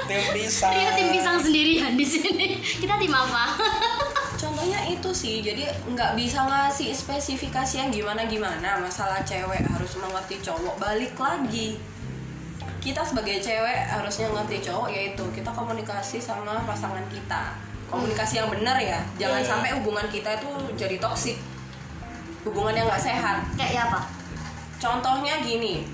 tim pisang
Rio Iya, tim pisang sendirian di sini. Kita tim apa?
contohnya itu sih jadi nggak bisa ngasih spesifikasi yang gimana gimana masalah cewek harus mengerti cowok balik lagi kita sebagai cewek harusnya ngerti cowok yaitu kita komunikasi sama pasangan kita komunikasi yang benar ya jangan
Iya, iya.
sampai hubungan kita itu jadi toksik hubungan yang nggak sehat
Kayak ya apa?
contohnya gini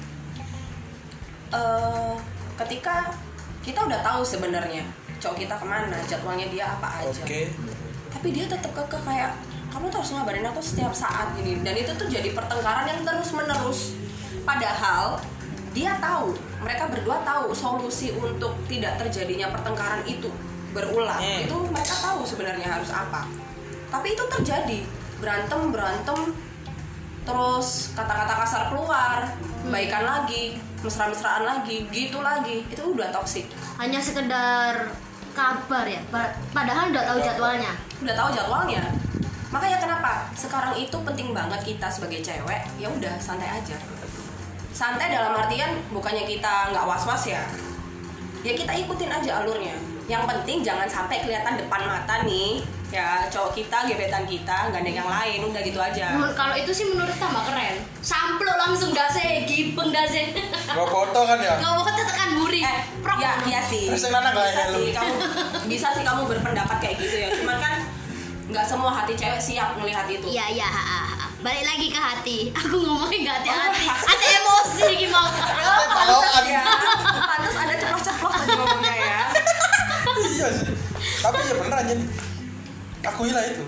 eh ketika kita udah tahu sebenarnya cowok kita kemana jadwalnya dia apa aja
oke
tapi dia tetap kekeh kayak kamu tuh harus ngabarin aku setiap saat gini dan itu tuh jadi pertengkaran yang terus menerus padahal dia tahu mereka berdua tahu solusi untuk tidak terjadinya pertengkaran itu berulang
Hmm.
itu mereka tahu sebenarnya harus apa tapi itu terjadi berantem berantem terus kata-kata kasar keluar baikan lagi mesra-mesraan lagi gitu lagi itu udah toksik
Hanya sekedar kabar ya. pa- Padahal udah tahu jadwalnya.
udah tahu jadwalnya makanya kenapa sekarang itu penting banget kita sebagai cewek ya udah santai aja santai dalam artian bukannya kita nggak was was ya ya kita ikutin aja alurnya yang penting jangan sampai kelihatan depan mata nih ya cowok kita gebetan kita gandeng yang lain udah gitu aja
Menurut- Kalau itu sih menurut tambah keren. Samplok langsung dase, gipeng dase.
Gak foto kan ya
Nggak mau ketekan buri.
eh
Prok.
ya iya sih
Terus yang mana nggak
bisa
ada lu?
sih kamu bisa sih kamu berpendapat kayak gitu ya cuman kan nggak semua hati cewek siap melihat itu
Iya iya. ha, ha, ha. Balik lagi ke hati.
Oh.
Aku ngomongin gak hati-hati. Hati emosi gimana?
Pahlawan.
Ya, pantas Iya. ada ya.
iya ya akuilah itu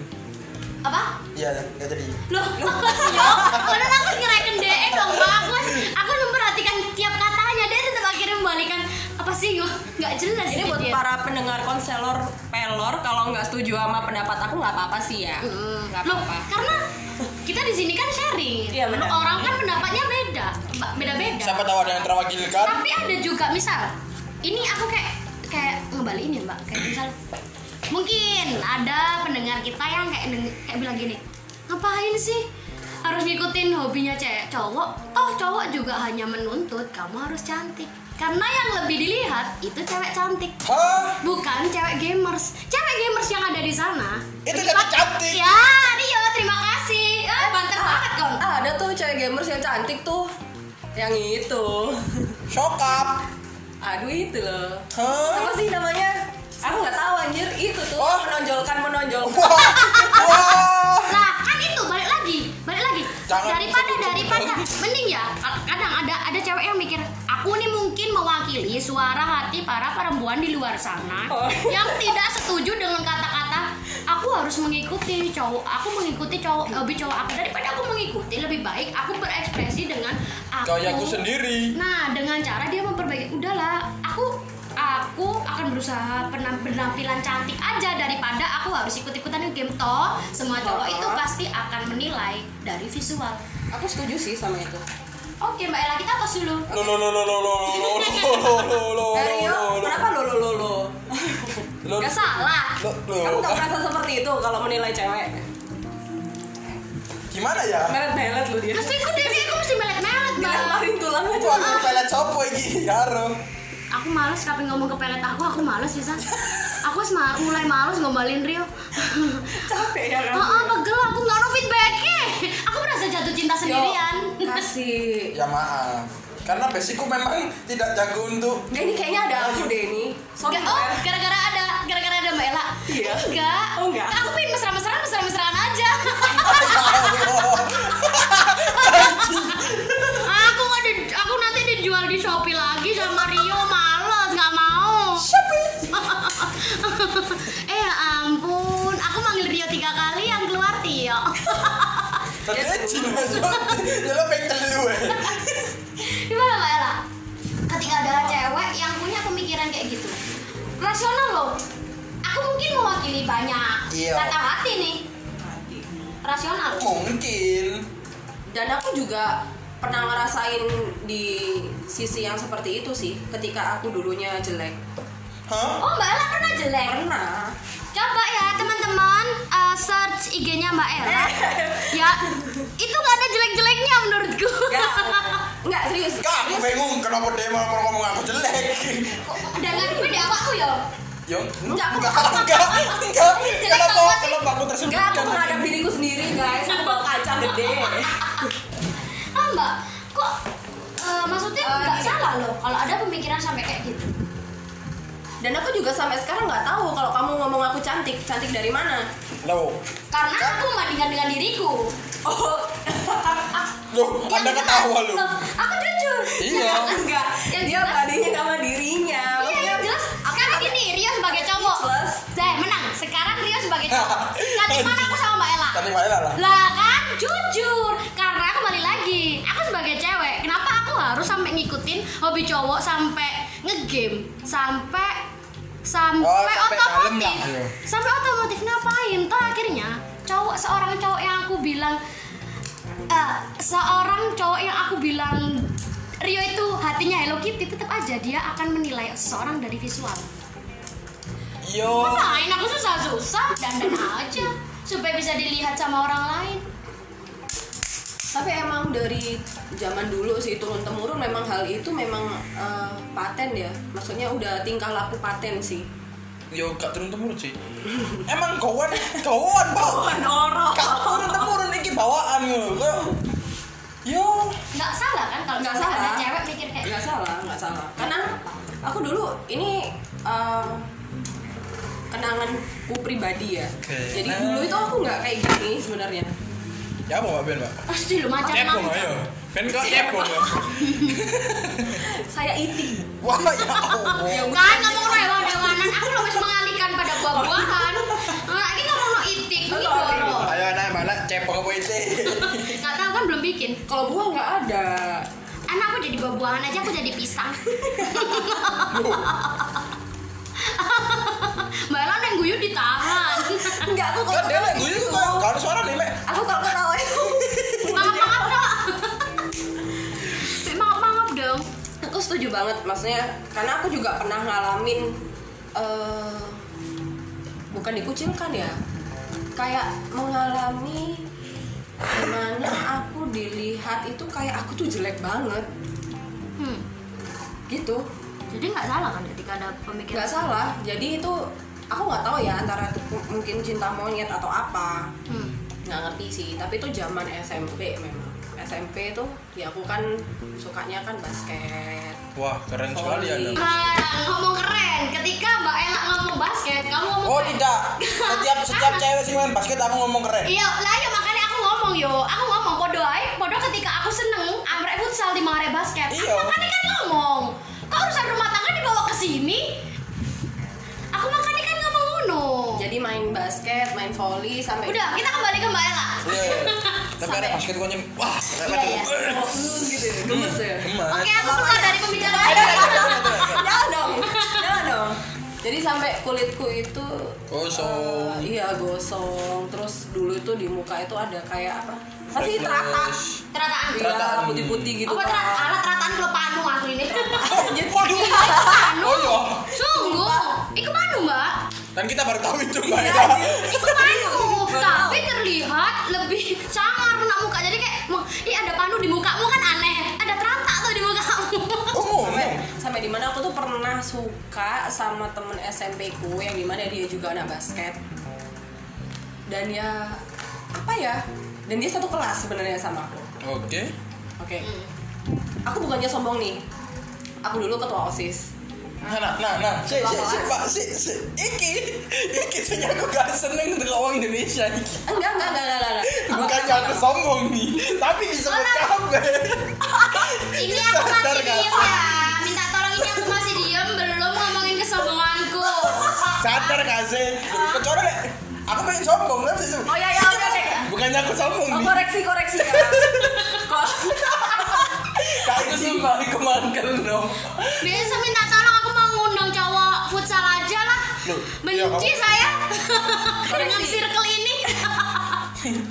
apa
iya nggak jadi
loh apa sih yo padahal aku nyerahkan DE dong bagus aku memperhatikan tiap katanya dia tetap akhirnya membalikan apa sih yo nggak jelas
Ini buat
dia.
para pendengar konselor pelor kalau nggak setuju sama pendapat aku nggak apa-apa sih ya. Nggak
Loh,
apa-apa.
karena kita di sini kan sharing.
Iya, benar.
Orang kan pendapatnya beda, Ba- beda-beda.
siapa tahu ada yang terwakilkan
Tapi ada juga misal, ini aku kayak kayak ngebalikin ya mbak, kayak misal mungkin ada pendengar kita yang kayak deng- kayak bilang gini, ngapain sih harus ngikutin hobinya cewek cowok? Toh cowok juga hanya menuntut kamu harus cantik. Karena yang lebih dilihat itu cewek cantik.
hah
Bukan cewek gamers. Cewek gamers yang ada di sana.
Itu
lebih
cantik-
pat-
cantik.
Ya, Dio, terima kasih. Eh, banter banget kon.
Ah, ada tuh cewek gamers yang cantik tuh. Yang itu.
sokap
Aduh itu loh.
hah
Apa sih namanya? Aku nggak tahu anjir. Itu tuh
Oh.
menonjolkan menonjolkan.
wah wah
Nah, kan itu balik lagi, balik lagi.
Jangan
daripada
sebut-
daripada mending ya kad- kadang ada ada cewek yang mikir, aku nih mungkin mewakili suara hati para perempuan di luar sana
Oh.
yang tidak setuju dengan kata-kata aku harus mengikuti cowok, aku mengikuti cowok hobi cowok aku daripada aku mengikuti lebih baik aku berekspresi dengan aku
kayaku sendiri
Nah, dengan cara dia memperbaiki, udahlah, aku aku akan berusaha penam- penampilan cantik aja daripada aku harus ikut-ikutan game toh. Semua cowok itu pasti akan menilai dari visual.
Aku setuju sih sama itu.
Oke, Mbak Ella kita tos dulu.
lo lo lo lo lo lo lo lo lo lo lo
Dari
lo
yo,
lo
Eh, kenapa lo lo lo lo?
lo
Gak salah.
lo
Kamu
lo
nggak merasa seperti itu kalau menilai cewek?
gimana ya
Melet-melet lu dia.
Pasti kok dia aku mesti melet-melet, Mbak.
Dilemparin tulang aja.
aku aku pelet sopo iki ya, karo
Aku males kapan ngomong ke pelet aku, aku males bisa. Aku sema- mulai males ngombalin Rio.
Capek ya
Oh, oh, pegel aku nggak ada feedbacknya. Aku merasa jatuh cinta sendirian.
Yo, Kasih
ya maaf karena basicku memang tidak jago untuk
Nggak, ini kayaknya ada aku deh ini. Sorry.
Enggak, oh,
Fer.
gara-gara ada, gara-gara ada Mbak Ella.
Iya.
Enggak.
Oh, enggak.
Aku pengen mesra-mesraan, mesra-mesraan aja. aku nggak di, aku nanti dijual di Shopee lagi sama Rio, males, nggak mau. eh, ya ampun, aku manggil Rio tiga kali yang keluar Tio.
tadi Cina ya lo pengen telu eh.
Gimana Mbak Ella? Ketika ada cewek yang punya pemikiran kayak gitu, rasional loh. Aku mungkin mewakili banyak
Iya.
kata hati nih. rasional
mungkin
Dan aku juga pernah ngerasain di sisi yang seperti itu sih ketika aku dulunya jelek
hah
oh mbak Ella pernah jelek
pernah
coba ya teman-teman eh, search IG-nya mbak Ella ya itu nggak ada jelek-jeleknya menurutku
nggak nggak serius
Kak, aku
Serius.
bingung kenapa dia mau mau ngomong aku jelek.
dan nggak di awakku ya
Yo,
Enggak, aku-
enggak, enggak, enggak.
Jelek
Kenapa, kenapa
banget.
aku
nggak aku
tersudutkan?
menghadap diriku sendiri guys aku bawa kaca gede
ah mbak kok eh, maksudnya
Eh,
nggak
gini.
salah loh kalau ada pemikiran sampai kayak gitu
dan aku juga sampai sekarang nggak tahu kalau kamu ngomong aku cantik cantik dari mana
Loh,
karena
Kan-
aku membandingkan dengan diriku
oh
loh,
Iya,
Ya,
anda
beneran.
ketawa lu.
Loh, aku jujur
Iya.
enggak
Yang
dia
jelas-
bandingin sama dirinya
Iya, yang jelas. Sekarang gini, Rio sebagai cowok.
Jelas.
Zai menang. Sekarang Rio sebagai cowok. Nanti mana aku sama Mbak Ella?
Tadi Mbak Ella lah.
Lah kan jujur, karena kembali lagi, aku sebagai cewek, kenapa aku harus sampai ngikutin hobi cowok sampai ngegame, sampai sampai,
Oh, sampai dalam
otomotif,
lah, iya.
sampai otomotif ngapain? Toh akhirnya cowok seorang cowok yang aku bilang eh, seorang cowok yang aku bilang Rio itu hatinya Hello Kitty tetap aja dia akan menilai seseorang dari visual.
Yo,
Ngapain aku susah-susah dandan aja supaya bisa dilihat sama orang lain.
tapi emang dari zaman dulu sih turun temurun memang hal itu memang eh, paten ya maksudnya udah tingkah laku paten sih
yo gak turun temurun sih. Emang kawan, kawan pak.
orang
Gak turun temurun iki bawaan lu. Kok, Yo,
Nggak salah kan kalau
Nggak
misalnya
salah.
ada cewek mikir kayak
nggak salah nggak salah karena aku dulu ini eh, kenanganku pribadi ya jadi
Nah.
dulu itu aku nggak kayak gini sebenarnya
ya mau mbak Ben mbak.
pasti lu macam
Cepung
macam.
ayo. Ben kok cepung ya.
saya iti
Wah ya Allah.
Kan kamu rewa dewanan, aku lo harus mengalihkan pada buah-buahan. Nah, ini kamu no itu ini
Atau apa?
dong
Ayo anak mana cepeng apa itu?
nggak tahu kan belum bikin
Kalau buah nggak ada.
anak aku jadi buah-buahan aja aku jadi pisang mbak Ella yang guyu ditahan
Enggak aku
Kan dia lagi gue juga kan suara nih Mek.
Aku kalau ketawa itu.
mangap mangap dong mangap mangap dong
aku setuju banget maksudnya karena aku juga pernah ngalamin eh bukan dikucilkan ya kayak mengalami dimana aku dilihat itu kayak aku tuh jelek banget
hmm.
gitu
jadi nggak salah kan ketika ada pemikiran
nggak salah jadi itu aku nggak tahu ya antara itu m- mungkin cinta monyet atau apa
hmm.
nggak ngerti sih tapi itu zaman SMP memang SMP tuh ya aku kan sukanya kan basket
Wah keren sekali ya, anda.
Ah, ngomong keren ketika mbak Ella ngomong basket kamu ngomong
Oh tidak, setiap setiap cewek sih main basket aku ngomong keren.
Iya, lah ya makanya aku ngomong yo. Aku ngomong podo ae, podo ketika aku seneng amrek futsal di mare basket. Aku
Iya.
makanya kan ngomong. Kok urusan rumah tangga dibawa ke sini? Aku makanya kan ngomong ngono.
jadi main basket main volley sampai
Udah, kita kembali ke Mbak Ella.
Iya. Tapi ada basket gue nyem. Wah keren
Iya,
banget. Hmm,
iya.
gitu ya, gemes ya
Gemes.
Oke, aku keluar dari pembicaraan.
jangan dong jangan dong jadi sampai kulitku itu
Gosong.
eh, iya gosong terus dulu itu di muka itu ada kayak apa pasti
Freckles.
terata
Terataan.
iya
Terataan.
putih-putih gitu
Apa
kan.
terataan? Alat terataan kalau panu aku ini.
Waduh. Oh iya.
Sungguh, iku panu, Mbak.
Dan kita baru tahu itu mbak. ya.
Iya,
Ella.
anjing.
Itu panu, tapi terlihat lebih sangar kena muka. Jadi kayak, "Mah, ih ada panu di mukamu kan aneh. Ada terata tuh di mukamu.
Oh
sampai
ngomong.
sampai di mana aku tuh pernah suka sama temen SMP ku yang dimana dia juga anak basket dan ya apa ya dan dia satu kelas sebenarnya sama aku
Oke.
oke
Hmm.
aku bukannya sombong nih aku dulu ketua osis
Nah, nah, nah, nah, si, si, si, pak, si, si, iki, iki, sing aku gak seneng dengan orang Indonesia iki.
Eh, enggak enggak enggak enggak, enggak. Aku-
Bukan yang aku sombong nih, tapi disebut kabeh.
Ini aku
Sadar
masih
nggak?
diem ya. Minta tolong ini aku masih diem belum ngomongin kesombonganku.
Sadar gak sih? Kecuali nek, aku pengen sombong kan sih.
oh ya ya oke oke
Bukannya aku sombong
oh,
nih.
koreksi koreksi ya Ko-
Kayak sumpah aku mangkel no.
Biasa minta tolong aku mau ngundang cowok futsal aja lah.
Loh, iya,
Benci
kamu-
saya dengan
Koreksi.
circle ini.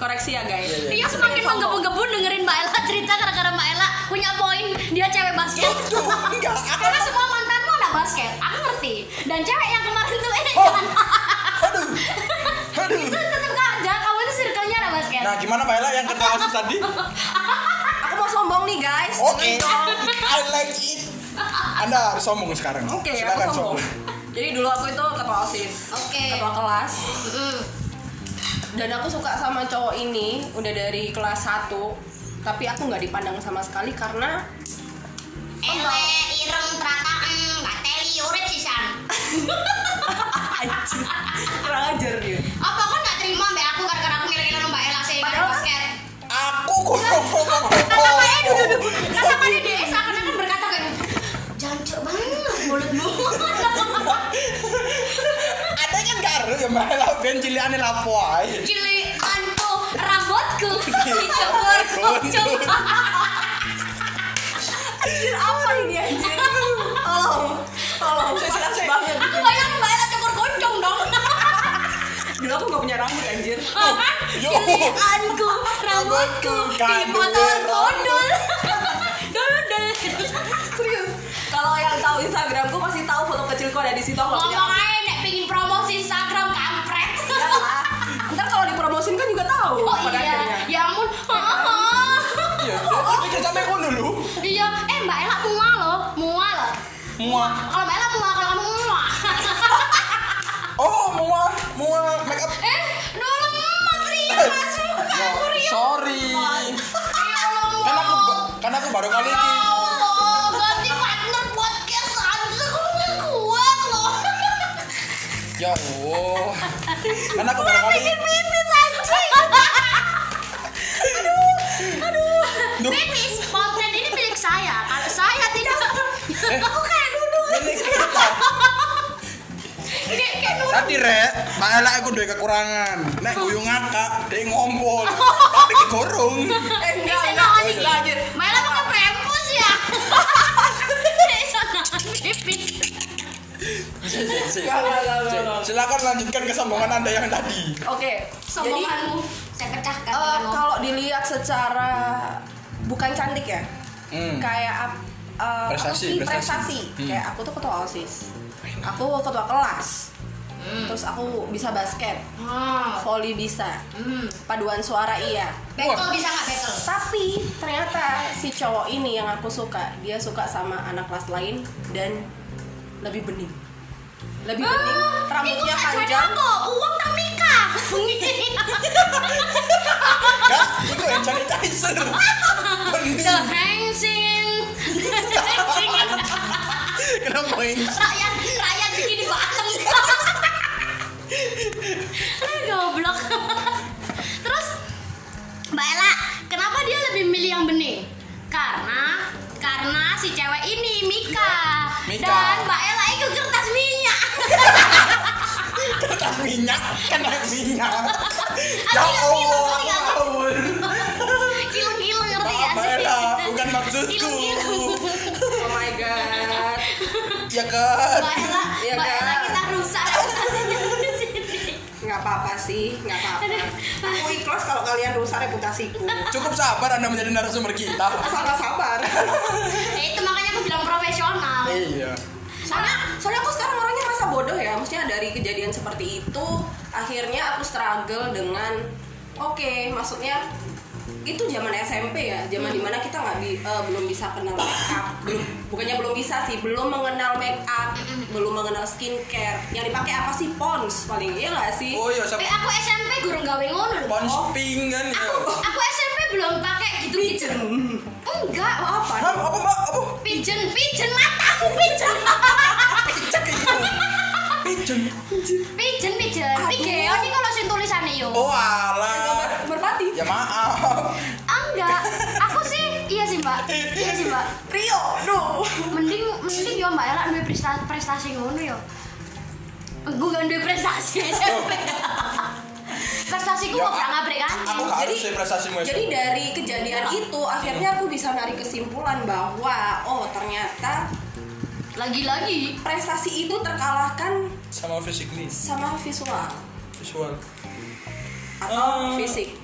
koreksi ya guys
Iya,
Dia semakin menggebu-gebu dengerin Mbak Ella cerita gara-gara Mbak Ella punya poin dia cewek basket.
Tuh, enggak, aku
Karena semua mantanmu anak basket, aku ngerti. Dan cewek yang kemarin tuh eh
Oh.
jangan.
aduh. Aduh.
itu tetap aja kamu tuh circle-nya anak basket.
Nah, gimana Mbak Ella yang ketua osis tadi?
aku mau sombong nih guys
Oke.
Seneng dong.
I like it. Anda harus sombong sekarang.
Oke,
Silakan
aku sombong. Jadi dulu aku itu ketua OSIS,
Oke.
ketua kelas
Mm-mm.
dan aku suka sama cowok ini udah dari kelas 1 tapi aku nggak dipandang sama sekali karena
Ele ireng terataan nggak teli urip sisan.
anjir kurang ajar dia
Apa kau nggak terima mbak aku gara-gara aku ngirimin mbak Ella sih
Padahal kan-
basket.
Aku
Iya.
kok ngomong
Tatapannya
Oh.
duduk duduk. Tatapannya dia eh, seakan-akan berkata kayak gitu. jancuk banget mulutmu.
Ada kan karo ya Mbak Ella ben cilikane lapo ae.
Cili tanpa rambutku dicukur
Gondrong.
anjir apa ini anjir tolong tolong saya
Makasih.
banget
Aku bayangin mbak Ella cukur gondong dong.
dulu aku nggak punya rambut anjir
Ah, kan?
Oh, Yo.
Cilianku, rambutku, dipotong gondol. Dulu deh.
serius kalau yang tahu Instagramku pasti tahu foto kecilku ada di situ aku nggak punya
Ngomong aja nek pingin promosi Instagram kampret. iya,
Ya lah. ntar kalau dipromosin kan juga tahu
Oh
pada
iya,
akhirnya.
ya ampun. Heeh.
Ya, aku pikir sampe ngono lho.
Iya, eh Mbak Ella mual loh, mual loh.
Muah.
Kalau Mbak Ella mual, kalau kamu mual.
Oh, muah, muah make up.
eh, dulu emak Ria suka
Ya,
aku Ria.
sorry.
Ya Allah.
Kan aku kan aku baru kali
Ya
ini.
Allah, ganti partner podcast aja kamu nggak kuat loh.
Ya Allah. Kan aku baru kali.
Bikin pipis anjing.
Duh,
Pipis, konten ini milik saya. Kalau
Eh.
saya tidak, aku kayak duduk.
ini kita.
Ini kayak
Tadi rek, Mbak Ela aku duwe kekurangan. Nek guyu ngakak, dia ngompol. Tapi digorong.
eh
Bisa
enggak enggak
nangis.
enggak anjir
Malah pakai prempus ya. Bisa nangis.
Sik, sik, sik.
Enggak, enggak, enggak, enggak, enggak.
Silakan lanjutkan kesombongan Anda yang tadi.
oke jadi
Sombonganmu saya pecahkan.
eh,
tanganmu.
kalau dilihat secara bukan cantik ya
Hmm.
kayak ap- eh,
Prestasi,
apa sih?
prestasi.
prestasi.
Hmm.
kayak aku tuh ketua osis aku ketua kelas
Hmm.
terus aku bisa basket
Hmm.
volley bisa
Hmm.
paduan suara iya
Bekel bisa nggak bekel?
tapi ternyata si cowok ini yang aku suka dia suka sama anak kelas lain dan lebih bening lebih
Ah,
bening rambutnya panjang
kok uang tak nikah.
Enggak, itu hand sanitizer.
The
Bening.
Hangsing.
Kenapa ini?
rakyat rakyat begini bottom. Goblok. Terus Mbak Ella, kenapa dia lebih milih yang bening? Karena karena si cewek ini Mika,
Mika.
dan Mbak Ella itu kertas minyak.
Kena minyak, kena minyak. Ya
Ada yang minum,
Allah,
ada yang
ngawur.
Ilung-ilung
Maaf
ngerti gak
Mbak
sih?
Ela, bukan maksudku.
Ilung-ilung.
oh my god
Ya kan?
Mbak Ella,
Iya,
Mbak Ella
kan?
kita rusak reputasinya di sini.
nggak apa-apa sih nggak apa-apa aku ikhlas kalau kalian rusak reputasiku
Cukup sabar Anda menjadi narasumber kita.
asal nggak sabar
Ya Eh, itu makanya aku bilang profesional.
Iya.
soalnya soalnya aku sekarang orangnya merasa bodoh ya maksudnya dari kejadian seperti itu akhirnya aku struggle dengan oke maksudnya itu zaman SMP ya zaman dimana kita nggak bi- eh, belum bisa kenal make up belum bukannya belum bisa sih belum mengenal make up belum mengenal skincare yang dipakai apa sih pons paling iya nggak sih
Oh iya,
Tapi
sampai
aku SMP guru gawe ngono loh.
punch pink kan ya.
Aku SMP belum pakai gitu-gitu. Enggak,
Oh, apa
Hah, apa Mbak? Apa?
pigeon, pigeon mataku pigeon.
Pijak itu. Pijen.
Pigeon, pigeon.
Aduh.
Pigeon ini kalau sing tulisannya yo.
Oh alah.
Gambar merpati
Ya maaf.
Ah, Enggak. Aku sih iya sih, Mbak. Iya sih, Mbak.
Rio no
mending mending yo Mbak Ella duwe prestasi prestasi ngono yo. Gue gak duwe prestasi SMP. Prestasiku
Ya,
kok gak ngabrik kan?
Aku gak harus
Jadi-
sih prestasi mau
Jadi dari kejadian itu akhirnya aku bisa narik kesimpulan bahwa oh ternyata
Lagi-lagi
prestasi itu terkalahkan
sama physically
sama visual
visual.
atau
Ah.
fisik.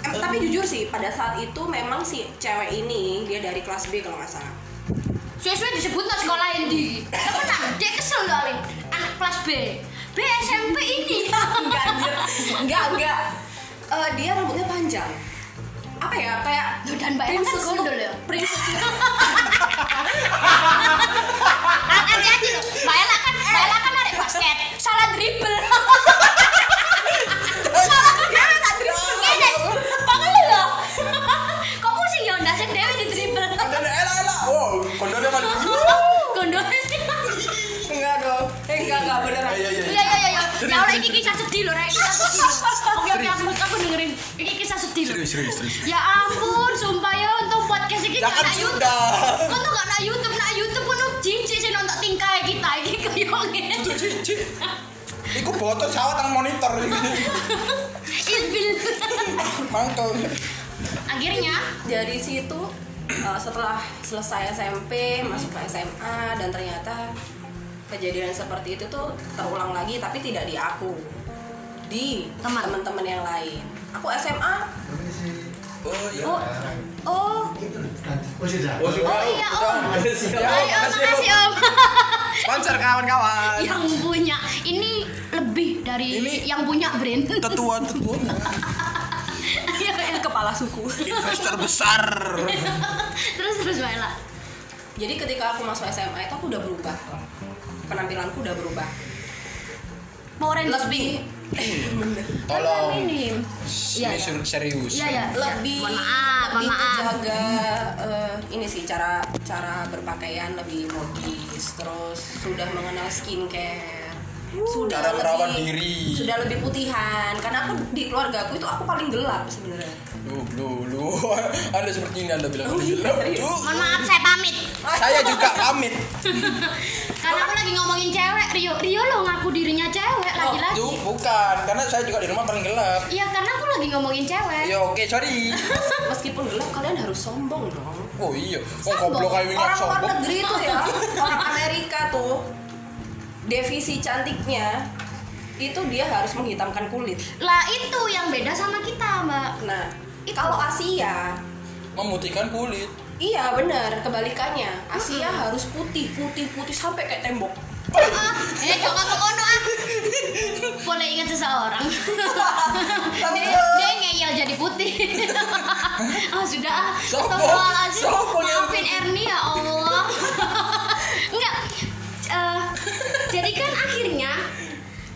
Eh.
Em, tapi jujur sih pada saat itu memang si cewek ini dia dari kelas B kalau nggak salah.
Suwe-suwe disebut nang sekolah endi? Temenan, dia kesel kali. Anak kelas B. B SMP ini.
enggak anjir. enggak enggak. Eh, dia rambutnya panjang. Apa ya kayak
Duh, dan Mbak Ella kan
princess
gondol
look-
ya?
Princess
Ah, Hati-hati loh. Mbak Ella kan, Mbak Ella kan narik basket. Salah dribble. Salah dia enggak dribble. Ngene. Pokoknya loh. Kok pusing ya ndasek dhewe di dribble.
Dan elah elah. Wow, kondornya kan.
Gondol sih.
enggak dong. Eh, enggak enggak beneran.
Iya iya.
Iya iya iya. Ya Allah, ini kisah sedih loh, Rek. Kisah sedih. loh. Oke oke aku aku dengerin. Ini kisah sedih loh.
Serius serius serius.
Ya ampun, sumpah ya untuk podcast ini
Ya
gak
kan
nak YouTube.
sudah.
Kau tuh gak nak YouTube, nak YouTube pun cincin sih nonton tingkah kita ini kuyongin.
Itu cici. Iku botol sawah tang monitor ini.
Ilbil. Oh,
Mantul.
iya. Akhirnya,
dari situ uh, setelah selesai SMP masuk ke SMA dan ternyata kejadian seperti itu tuh terulang lagi tapi tidak di aku di
Teman.
teman-teman yang lain aku SMA
Oh iya.
oh, oh,
Oh sudah.
Oh, sudah.
Oh, iya,
Sudah.
Om.
Ya,
Hai, om, makasih
Om.
om.
Sponsor kawan-kawan.
yang punya ini lebih dari
Ini-
yang punya brand. Iya,
Tetua tetua.
Eh,
kepala suku
Investor besar.
terus terus Maela.
jadi ketika aku masuk SMA itu aku udah berubah penampilanku udah berubah
Power Rangers
lebih
Kan
Tolong.
ini.
Ini
Iya, iya.
sur- serius.
Iya ya.
lebih
Mohon maaf, mohon
lebih
maaf.
terjaga eh, ini sih cara cara berpakaian lebih modis terus sudah mengenal skincare
Uh,
sudah
Cara merawat
lebih-
diri.
sudah lebih putihan karena aku di keluarga aku itu aku paling gelap sebenarnya
Lu, lu, lu. Anda seperti ini Anda
Oh,
bilang. Lu,
iya,
lu.
Mohon maaf saya pamit.
Saya juga pamit.
Karena aku lagi ngomongin cewek, Rio. Rio lo ngaku dirinya
Oh.
cewek lagi-lagi.
Lu bukan, karena saya juga di rumah paling gelap.
Iya, karena aku lagi ngomongin cewek.
Ya
Iya.
oke, sorry.
meskipun gelap kalian harus sombong dong
Oh iya, kok
Sombong.
goblok kayak minyak
orang luar
sombong.
negeri tuh ya orang Amerika tuh devisi cantiknya itu dia harus menghitamkan kulit
Lah itu yang beda sama kita, Mbak.
nah kalau Asia
Memutihkan kulit.
iya benar kebalikannya Asia harus putih putih putih sampai kayak tembok
Ah, ya coba ke kono ah. Boleh ingat seseorang. dia, dia ngeyel jadi putih. ah sudah ah.
Sombong.
Astagfirullahaladzim.
Sombong yang
Maafin Erni ya Allah. Enggak. Eh, jadi kan akhirnya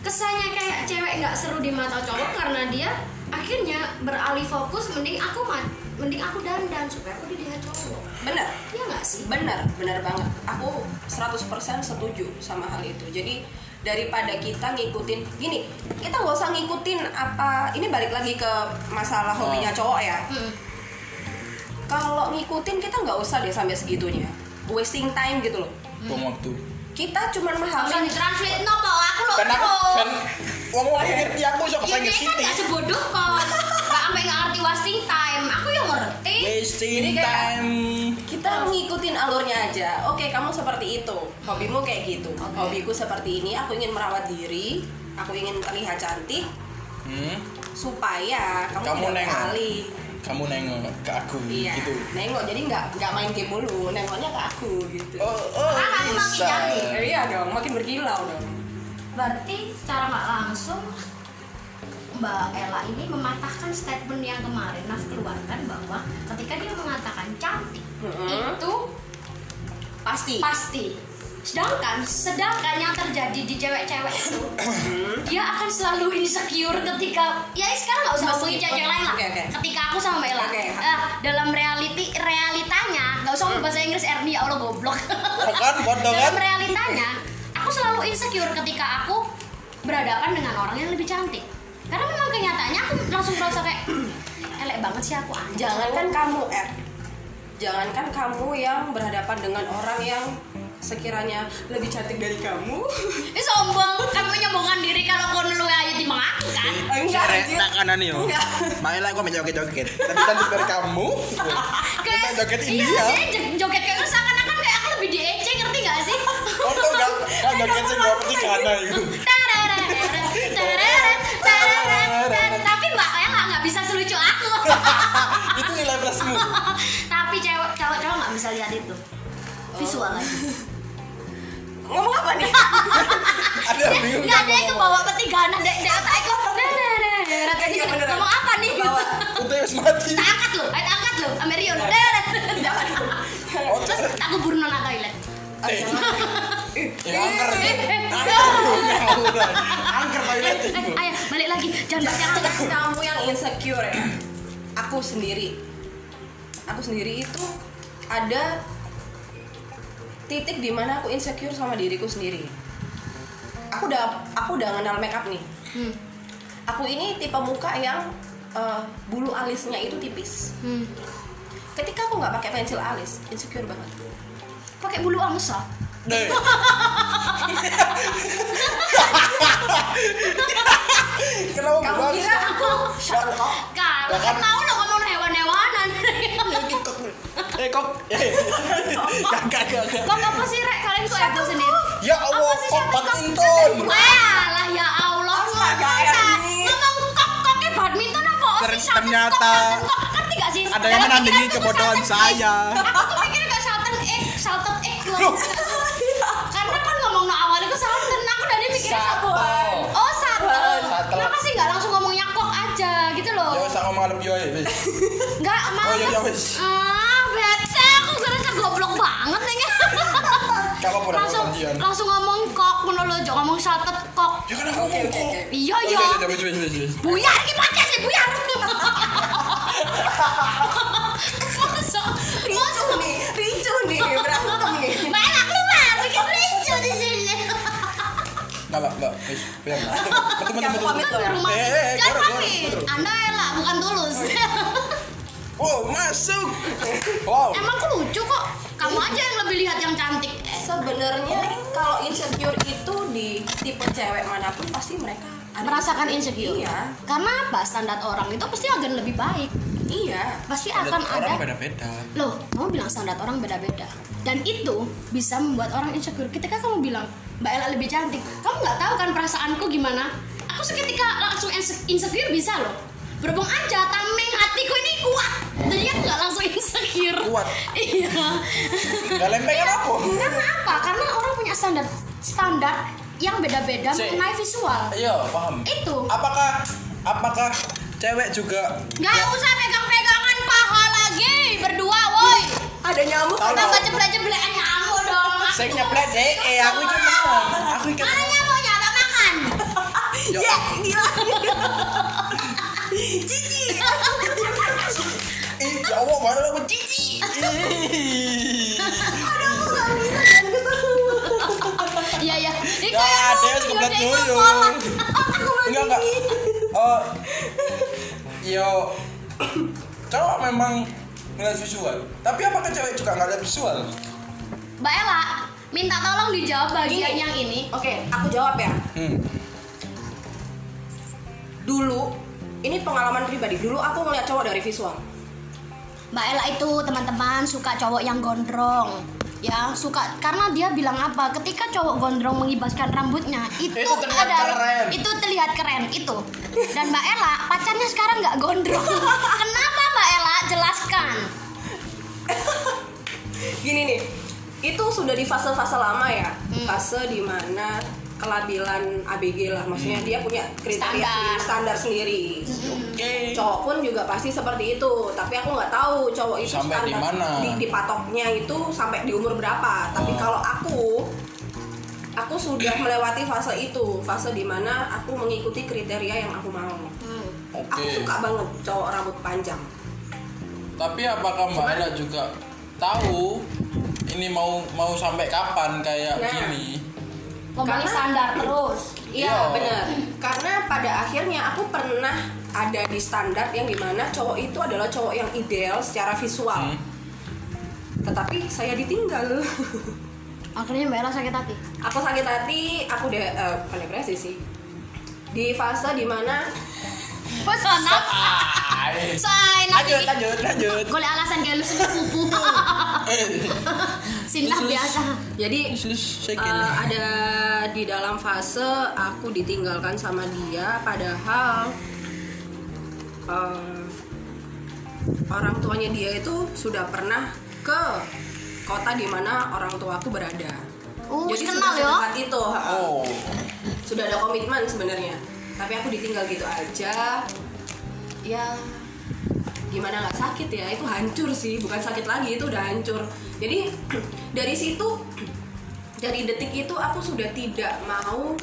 kesannya kayak cewek nggak seru di mata cowok karena dia akhirnya beralih fokus mending aku ma- mending aku dandan supaya aku dilihat cowok.
benar
Iya nggak sih?
benar benar banget aku 100% setuju sama hal itu jadi daripada kita ngikutin gini kita nggak usah ngikutin apa ini balik lagi ke masalah hobinya cowok ya
Hmm.
kalau ngikutin kita nggak usah deh sampai segitunya wasting time gitu loh
Buang waktu.
kita cuman
Usah
memahami
ditranslate no Pak. aku loh.
Kan aku
Bro.
kan wong wong ngerti aku sok
Ya
sange
dia kan
siti.
gak sebodoh kok Gak sampe gak ngerti wasting time Aku yang ngerti
Wasting
Jadi kayak-
time.
kita ngikutin alurnya aja oke kamu seperti itu hobimu kayak gitu hobiku seperti ini aku ingin merawat diri aku ingin terlihat cantik
Hmm,
supaya kamu,
Kamu
tidak
nengok.
beralih
kamu nengok ke aku
iya
gitu.
nengok jadi nggak nggak main game mulu nengoknya ke aku gitu
Oh, oh,
Kan aku makin
bisa.
cantik.
Eh, iya dong makin berkilau dong
Berarti secara gak langsung Mbak Ella ini mematahkan statement yang kemarin Naf keluarkan bahwa ketika dia mengatakan cantik
Mm-mm.
Itu
pasti
pasti Sedangkan, sedangkan yang terjadi di cewek-cewek itu Dia akan selalu insecure ketika Ya sekarang gak usah
Masih. oh,
ngomongin cewek lain lah
Oke, oke.
Ketika aku sama Mbak Ella
Oke.
Eh, Dalam reality, realitanya Gak usah ngomong bahasa Inggris, Ernie ya Allah goblok
Oh kan, bodoh kan?
dalam realitanya aku selalu insecure ketika aku berhadapan dengan orang yang lebih cantik karena memang kenyataannya aku langsung merasa kayak elek banget sih aku anjing
jangankan kamu R jangankan kamu yang berhadapan dengan orang yang sekiranya lebih cantik dari kamu
ini sombong kan menyombongkan diri kalau kau nelu aja timbang aku kan
enggak anjir.
tak kanan yo.
Enggak.
Maela kok joget-joget. Tapi cantik dari kamu. Kita joget
iya
India.
dia joget kayak seakan-akan kayak aku lebih diece ngerti gak sih
Foto kan, kan joget sing gak ngerti kana itu.
Tararara, tararara, tararara. tapi mbak kayak nggak nggak bisa selucu aku
Itu nilai plusmu.
tapi cewek cowok cowok nggak bisa lihat itu visual aja
ngomong apa nih
Ada bingung.
Enggak ada yang kebawa ketinggalan dek dek otak aku. Nah, nah, nah, nah, nah,
Iya,
nah,
beneran.
Ngomong apa nih?
Bawa.
Udah wis mati.
Tak angkat lu, ayo angkat lu, Amerio lu. Nah, nah, nah.
jangan
Oh,
Terus tak kubur nona toilet.
Eh, ya, angker.
Eh, eh,
Angker udah. Angker
eh,
toilet
eh,
itu.
ayo balik lagi, jangan banyak
jangan kamu yang insecure ya aku sendiri aku sendiri itu ada titik dimana aku insecure sama diriku sendiri aku udah aku udah kenal makeup nih
Hmm,
aku ini tipe muka yang eh, bulu alisnya itu tipis
hmm.
ketika aku nggak pakai pensil alis insecure banget
Pakai bulu angsa.
Deh. Kenapa
kamu
bang?
kira aku Sherlock
Kalau
Lah, kan-
kan tahu lo ngomong hewan-hewanan.
Eh kok? Eh, Kakak kakak.
Kok apa sih rek kalian kok ego sendiri?
Ya Allah,
Apa sih,
kok
siapa
badminton.
Walah ya Allah,
Astaga, Erni.
ngomong ngomong kok koknya badminton apa Oh,
Ter-
official
ternyata
ngerti gak sih?
Ada yang
Dalam
menandingi
pikiranku tuh
kebodohan
Shelton X.
saya.
Aku tuh mikirnya kayak Shelton X, Shelton X loh.
Loh.
Karena kan ngomong no awalnya ke Shelton, aku dari mikirnya
Shelton.
Shelton. Oh Shelton,
Shelton.
kenapa sih gak langsung ngomongnya kok aja gitu loh?
Ya usah ngomong alep yo wis.
Gak
Oh ya ya
malah
wis.
Ah, bete aku sebenarnya goblok banget nih.
Kakak pura
langsung
gantian.
langsung ngomong kok menurut ngomong Shelton kok.
Ya kan aku ngomong kok.
Iya
Oh,
ya.
iya, iya, wis, wis, wis, wis.
Buyar iki podcast sih buyar. Masa
Iya,
masa
ricu nih ricu nih berantem nih
main aku keluar bikin ricu di sini.
Enggak, enggak, enggak. Wis, biar. Teman-teman.
Kamu pamit
Kan
loh.
di rumah.
Eh, eh, eh,
Jangan
keluar, keluar,
pamit.
keluar.
Anda elak bukan tulus.
wow Oh, masuk wow
Emang aku lucu kok. Kamu
Iya.
aja yang lebih lihat yang cantik. Eh,
Sebenarnya kalau insecure itu di tipe cewek manapun pasti mereka ada
Iya. merasakan insecure.
Iya.
Karena apa? Standar orang itu pasti akan lebih baik.
Iya.
Pasti akan
Standar
ada.
orang beda-beda
Loh, kamu bilang standar orang beda-beda. Dan itu bisa membuat orang insecure. Ketika kamu bilang Mbak Ella lebih cantik, kamu nggak tahu kan perasaanku gimana? Aku seketika langsung inse- insecure bisa loh. Berhubung aja tameng hatiku ini kuat. Jadi aku nggak langsung insecure.
Kuat?
iya.
nggak lempeng apa
Karena apa? Karena orang punya standar standar yang beda-beda
Cek.
mengenai visual.
iya paham
Itu.
apakah apakah cewek juga
Gak usah pegang-pegangan paha lagi berdua, woi.
Ada nyamuk.
Tahu.
Kenapa jeblek-jeblekan kamu dong?
saya nyeplet deh eh aku cuma aku ikan
Makanya mau nyata makan.
Yo.
Ya, gila. Cici.
ih cowok baru aku cici Ih.
Iya iya. Ini
Ya,
kayak
dia
mau
kebelet
jodoh ikut
dulu.
bola. Aku mau
enggak enggak oh yo cowok memang ngeliat visual tapi apakah cewek juga ngeliat visual
Mbak Ella, minta tolong dijawab bagian
Gini.
yang ini.
Oke, aku jawab ya.
hmm.
Dulu ini pengalaman pribadi. Dulu aku ngeliat cowok dari visual.
Mbak Ella itu teman-teman suka cowok yang gondrong ya suka karena dia bilang apa ketika cowok gondrong mengibaskan rambutnya itu,
Itu terlihat
ada
keren.
itu terlihat keren itu dan Mbak Ella pacarnya sekarang nggak gondrong kenapa Mbak Ella jelaskan
Gini nih. Itu sudah di fase-fase lama ya.
Hmm.
Fase dimana kelabilan ABG lah. Maksudnya
Hmm.
dia punya kriteria
Standar.
sendiri, standar sendiri.
oke
cowok pun juga pasti seperti itu tapi aku nggak tahu cowok itu
Sampai di mana?
di, di patoknya itu sampai di umur berapa
Oh.
tapi kalau aku aku sudah melewati fase itu fase dimana aku mengikuti kriteria yang aku mau
Hmm.
aku
oke
suka banget cowok rambut panjang
tapi apakah mbak Ella juga tahu ini mau mau sampai kapan kayak
Nah.
gini
ngomongin
Karena-
standar terus
Iya.
iya benar karena pada akhirnya aku pernah ada di standar yang dimana cowok itu adalah cowok yang ideal secara visual
Hmm.
tetapi saya ditinggal
akhirnya Mbak Ella sakit hati
aku sakit hati aku udah eh, bukan depresi sih di fase dimana
pesan
Ay.
say
lanjut
nanti
lanjut lanjut
golek alasan kayak lu sendiri kupu
eh
sinah
Khusus.
biasa
jadi
sus saya gini.
eh, ada di dalam fase aku ditinggalkan sama dia padahal eh, orang tuanya dia itu sudah pernah ke kota dimana orang tuaku berada
Oh,
jadi
kenal
sudah
ya.
sedekat itu ha.
oh
sudah ada komitmen sebenarnya tapi aku ditinggal gitu aja ya gimana nggak sakit ya itu hancur sih bukan sakit lagi itu udah hancur jadi dari situ dari detik itu aku sudah tidak mau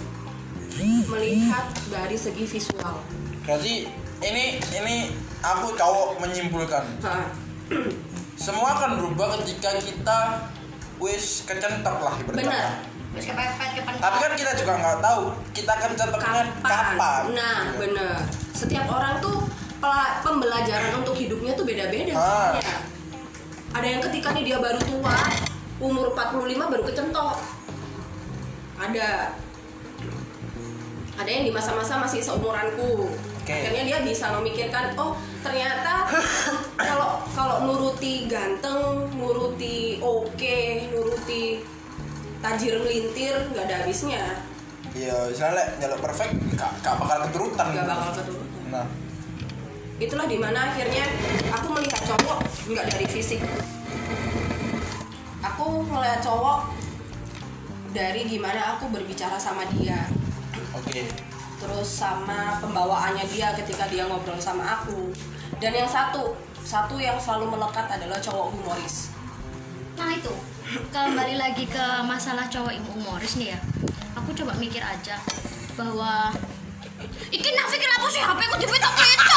melihat dari segi visual
berarti ini ini aku cowok menyimpulkan
Hah.
semua akan berubah ketika kita wis kecentok lah ibaratnya.
benar
terus kepepet kepentang.
tapi kan kita juga nggak tahu kita kencentoknya
kapan?
kapan
nah benar setiap orang tuh pela- pembelajaran untuk hidupnya tuh beda-beda
Ah.
sebenarnya. ada yang ketika nih dia baru tua umur 45 baru kecentok ada ada yang di masa-masa masih seumuranku
Oke.
akhirnya dia bisa memikirkan oh ternyata kalau kalau nuruti ganteng nuruti oke nuruti tajir melintir nggak ada habisnya
iya misalnya nyelok perfect nggak nggak bakal keturutan
nggak bakal keturutan
nah
itulah dimana akhirnya aku melihat cowok nggak dari fisik aku melihat cowok dari gimana aku berbicara sama dia
oke
terus sama pembawaannya dia ketika dia ngobrol sama aku dan yang satu satu yang selalu melekat adalah cowok humoris
Nah itu kembali lagi ke masalah cowok yang humoris nih ya. Aku coba mikir aja bahwa Iki nak pikir apa sih HP ku dipetok itu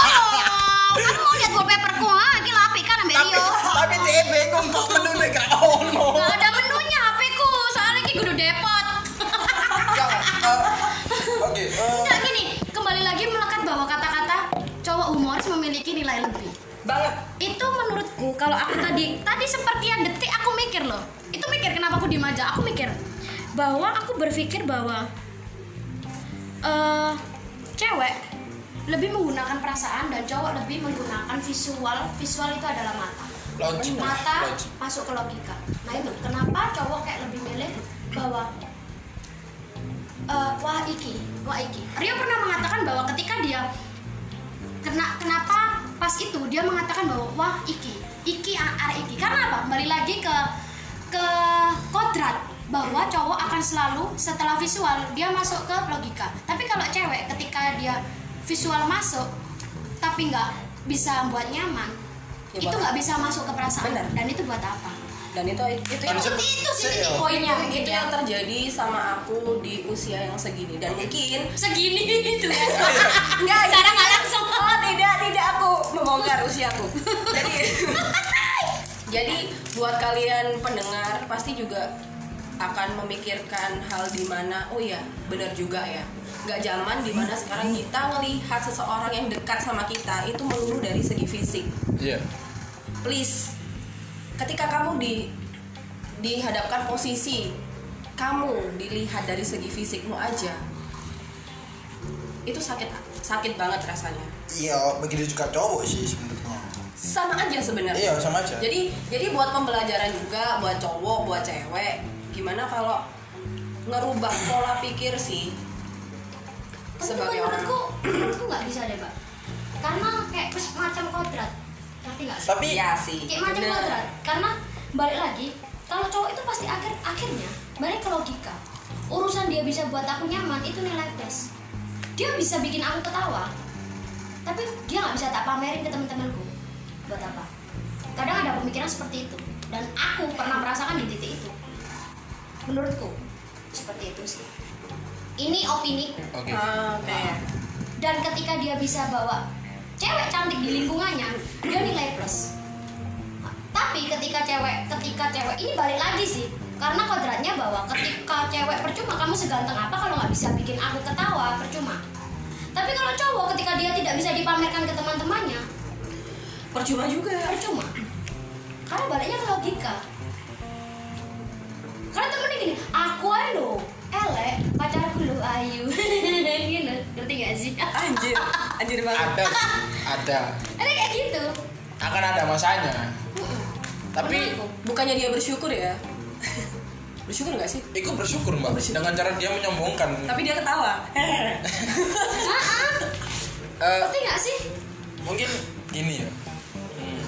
Kan mau lihat wallpaperku ha, iki lah apik kan ambek
tapi
Rio.
tapi dia bingung kok menurut gak ono
Nah.
Gak ada menunya HP ku, soalnya iki kudu depot.
Nggak, eh, oke eh,
Nah gini, kembali lagi melekat bahwa kata-kata cowok humoris memiliki nilai lebih.
banget
Itu sepertian detik aku mikir loh itu mikir kenapa aku diem aja aku mikir bahwa aku berpikir bahwa eh cewek lebih menggunakan perasaan dan cowok lebih menggunakan visual visual itu adalah mata
Logik.
mata
Logik.
masuk ke logika nah itu kenapa cowok kayak lebih milih bahwa eh, wah iki wah iki Rio pernah mengatakan bahwa ketika dia kena kenapa pas itu dia mengatakan bahwa wah iki iki a- arek iki karena apa kembali lagi ke ke kodrat bahwa cowok akan selalu setelah visual dia masuk ke logika tapi kalau cewek ketika dia visual masuk tapi nggak bisa buat nyaman
Ya,
itu
buat
nggak bisa masuk ke perasaan
Benar.
dan itu buat apa
dan itu itu
Dan
itu
Seperti itu sih
Sih,
titik
ya.
poinnya mungkin
itu
ya.
yang terjadi sama aku di usia yang segini dan mungkin
segini gitu ya
Enggak,
Sekarang nggak langsung.
Oh, tidak, tidak aku membongkar usiaku. Jadi Jadi buat kalian pendengar pasti juga akan memikirkan hal di mana oh ya, benar juga ya. Nggak zaman di mana
Iya.
sekarang kita ngelihat seseorang yang dekat sama kita itu melulu dari segi fisik.
Iya.
Please. Ketika kamu di dihadapkan posisi kamu dilihat dari segi fisikmu aja itu sakit sakit banget rasanya
Iya, begitu juga cowok sih sebenarnya.
sama aja sebenarnya.
Iya, sama aja.
Jadi jadi buat pembelajaran juga buat cowok, buat cewek, gimana kalau ngerubah pola pikir sih
Tapi
sebagai orang.
menurutku menurutku nggak bisa deh pak karena kayak macam kodrat ngerti nggak sih
Tapi
Iya sih.
kayak macam
bener.
kodrat karena balik lagi kalau cowok itu pasti akhir akhirnya balik ke logika urusan dia bisa buat aku nyaman itu nilai plus dia bisa bikin aku ketawa tapi dia nggak bisa tak pamerin ke teman-temanku buat apa kadang ada pemikiran seperti itu dan aku pernah merasakan di titik itu menurutku seperti itu sih ini opini
Oke.
Ah, Oke.
dan ketika dia bisa bawa cewek cantik di lingkungannya dia nilai plus tapi ketika cewek ketika cewek ini balik lagi sih karena kodratnya bahwa ketika cewek percuma kamu seganteng apa kalau nggak bisa bikin aku ketawa percuma tapi kalau cowok ketika dia tidak bisa dipamerkan ke teman-temannya
Percuma juga.
percuma karena baliknya ke logika karena temennya gini aku aja lo elek pacarku lo ayu gitu ngerti gak sih
Anjir, anjir banget.
Ada, ada.
Ada kayak gitu.
Akan ada masanya. Tapi
Menurutku.
Bukannya dia bersyukur ya? bersyukur nggak sih?
Iku bersyukur mbak dengan cara dia menyombongkan.
Tapi dia ketawa.
Ah, ah.
Eh,
Ngerti nggak sih?
mungkin gini ya Hmm.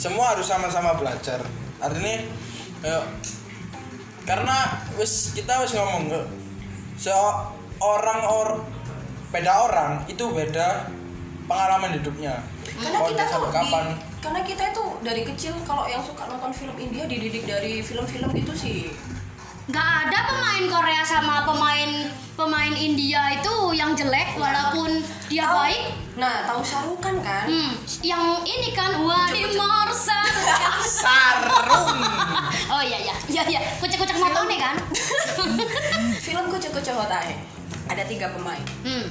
semua harus sama-sama belajar artinya ya, karena wis kita wis ngomong ke seorang or beda orang itu beda pengalaman hidupnya
karena
Mau
kita
dia
tuh
sampai
di-
kapan
karena kita itu dari kecil kalau yang suka nonton film India dididik dari film-film itu sih
Nggak ada pemain Korea sama pemain pemain India itu yang jelek walaupun dia
Tahu-
baik.
Nah, tahu sarukan kan?
Hmm, yang ini kan Wani Morsa.
sarung
oh iya iya iya iya kucek-kucek motone kan.
Film Kucuk Kucuk Hotae ada tiga pemain.
hmm.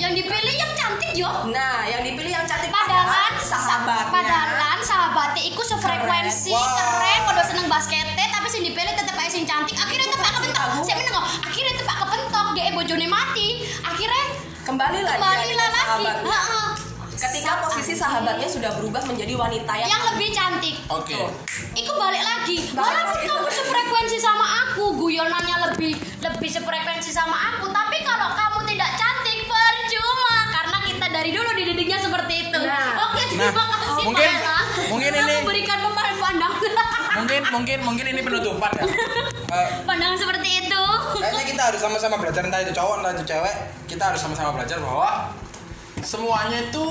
Yang dipilih yang cantik yo.
Nah, yang dipilih yang cantik
Padahal
sahabatnya.
Padahlan sahabatnya iku sefrekuensi
Keren. Wah.
keren, padha seneng basketnya tapi sing dipilih tetep ae sing cantik. Akhirnya tepak kepentok.
Aku.
Sik meneng akhirnya tepak kepentok, dhek bojone mati. Akhirnya
Kembali lagi,
kembali
dia
lah
dengan
lagi.
sahabatnya.
Heeh.
Ketika
Sa-
posisi sahabatnya sudah berubah menjadi wanita yang,
yang lebih cantik.
oke
Tuh.
Iku balik lagi.
Balik
Walaupun
lagi.
kamu sefrekuensi sama aku, guyonannya lebih lebih sefrekuensi sama aku, tapi kalau kamu tidak cantik percuma karena kita dari dulu dididiknya seperti itu.
Nah.
Oke,
Nah,
terima kasih
mungkin-
Pak Ella.
mungkin
Telah
ini-
memberikan pemandangan pandangan.
mungkin mungkin mungkin ini penutupan ya Eh,
pandangan seperti itu.
Kayaknya kita harus sama-sama belajar entah itu cowok entah itu cewek kita harus sama-sama belajar bahwa semuanya itu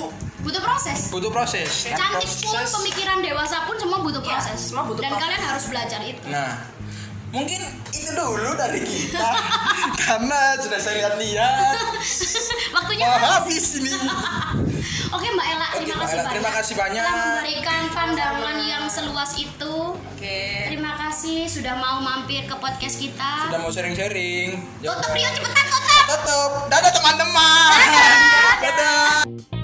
Butuh proses.
butuh proses Dan
Cantik pun,
Ya, proses-
pemikiran dewasa pun semua butuh
Iya,
proses.
semua butuh
Dan
proses.
kalian harus belajar itu.
Nah, mungkin itu dulu dari kita karena sudah saya lihat-lihat
Waktunya
mau
habis.
habis ini.
Oke Mbak Ella,
Oke,
terima
Mbak
kasih
Ella,
banyak.
terima kasih banyak.
Telah memberikan pandangan yang seluas itu.
Oke.
Terima kasih sudah mau mampir ke podcast kita.
Sudah mau sharing-sharing.
Tutup Rio cepetan tutup.
Tutup. Dadah teman-teman. Dadah.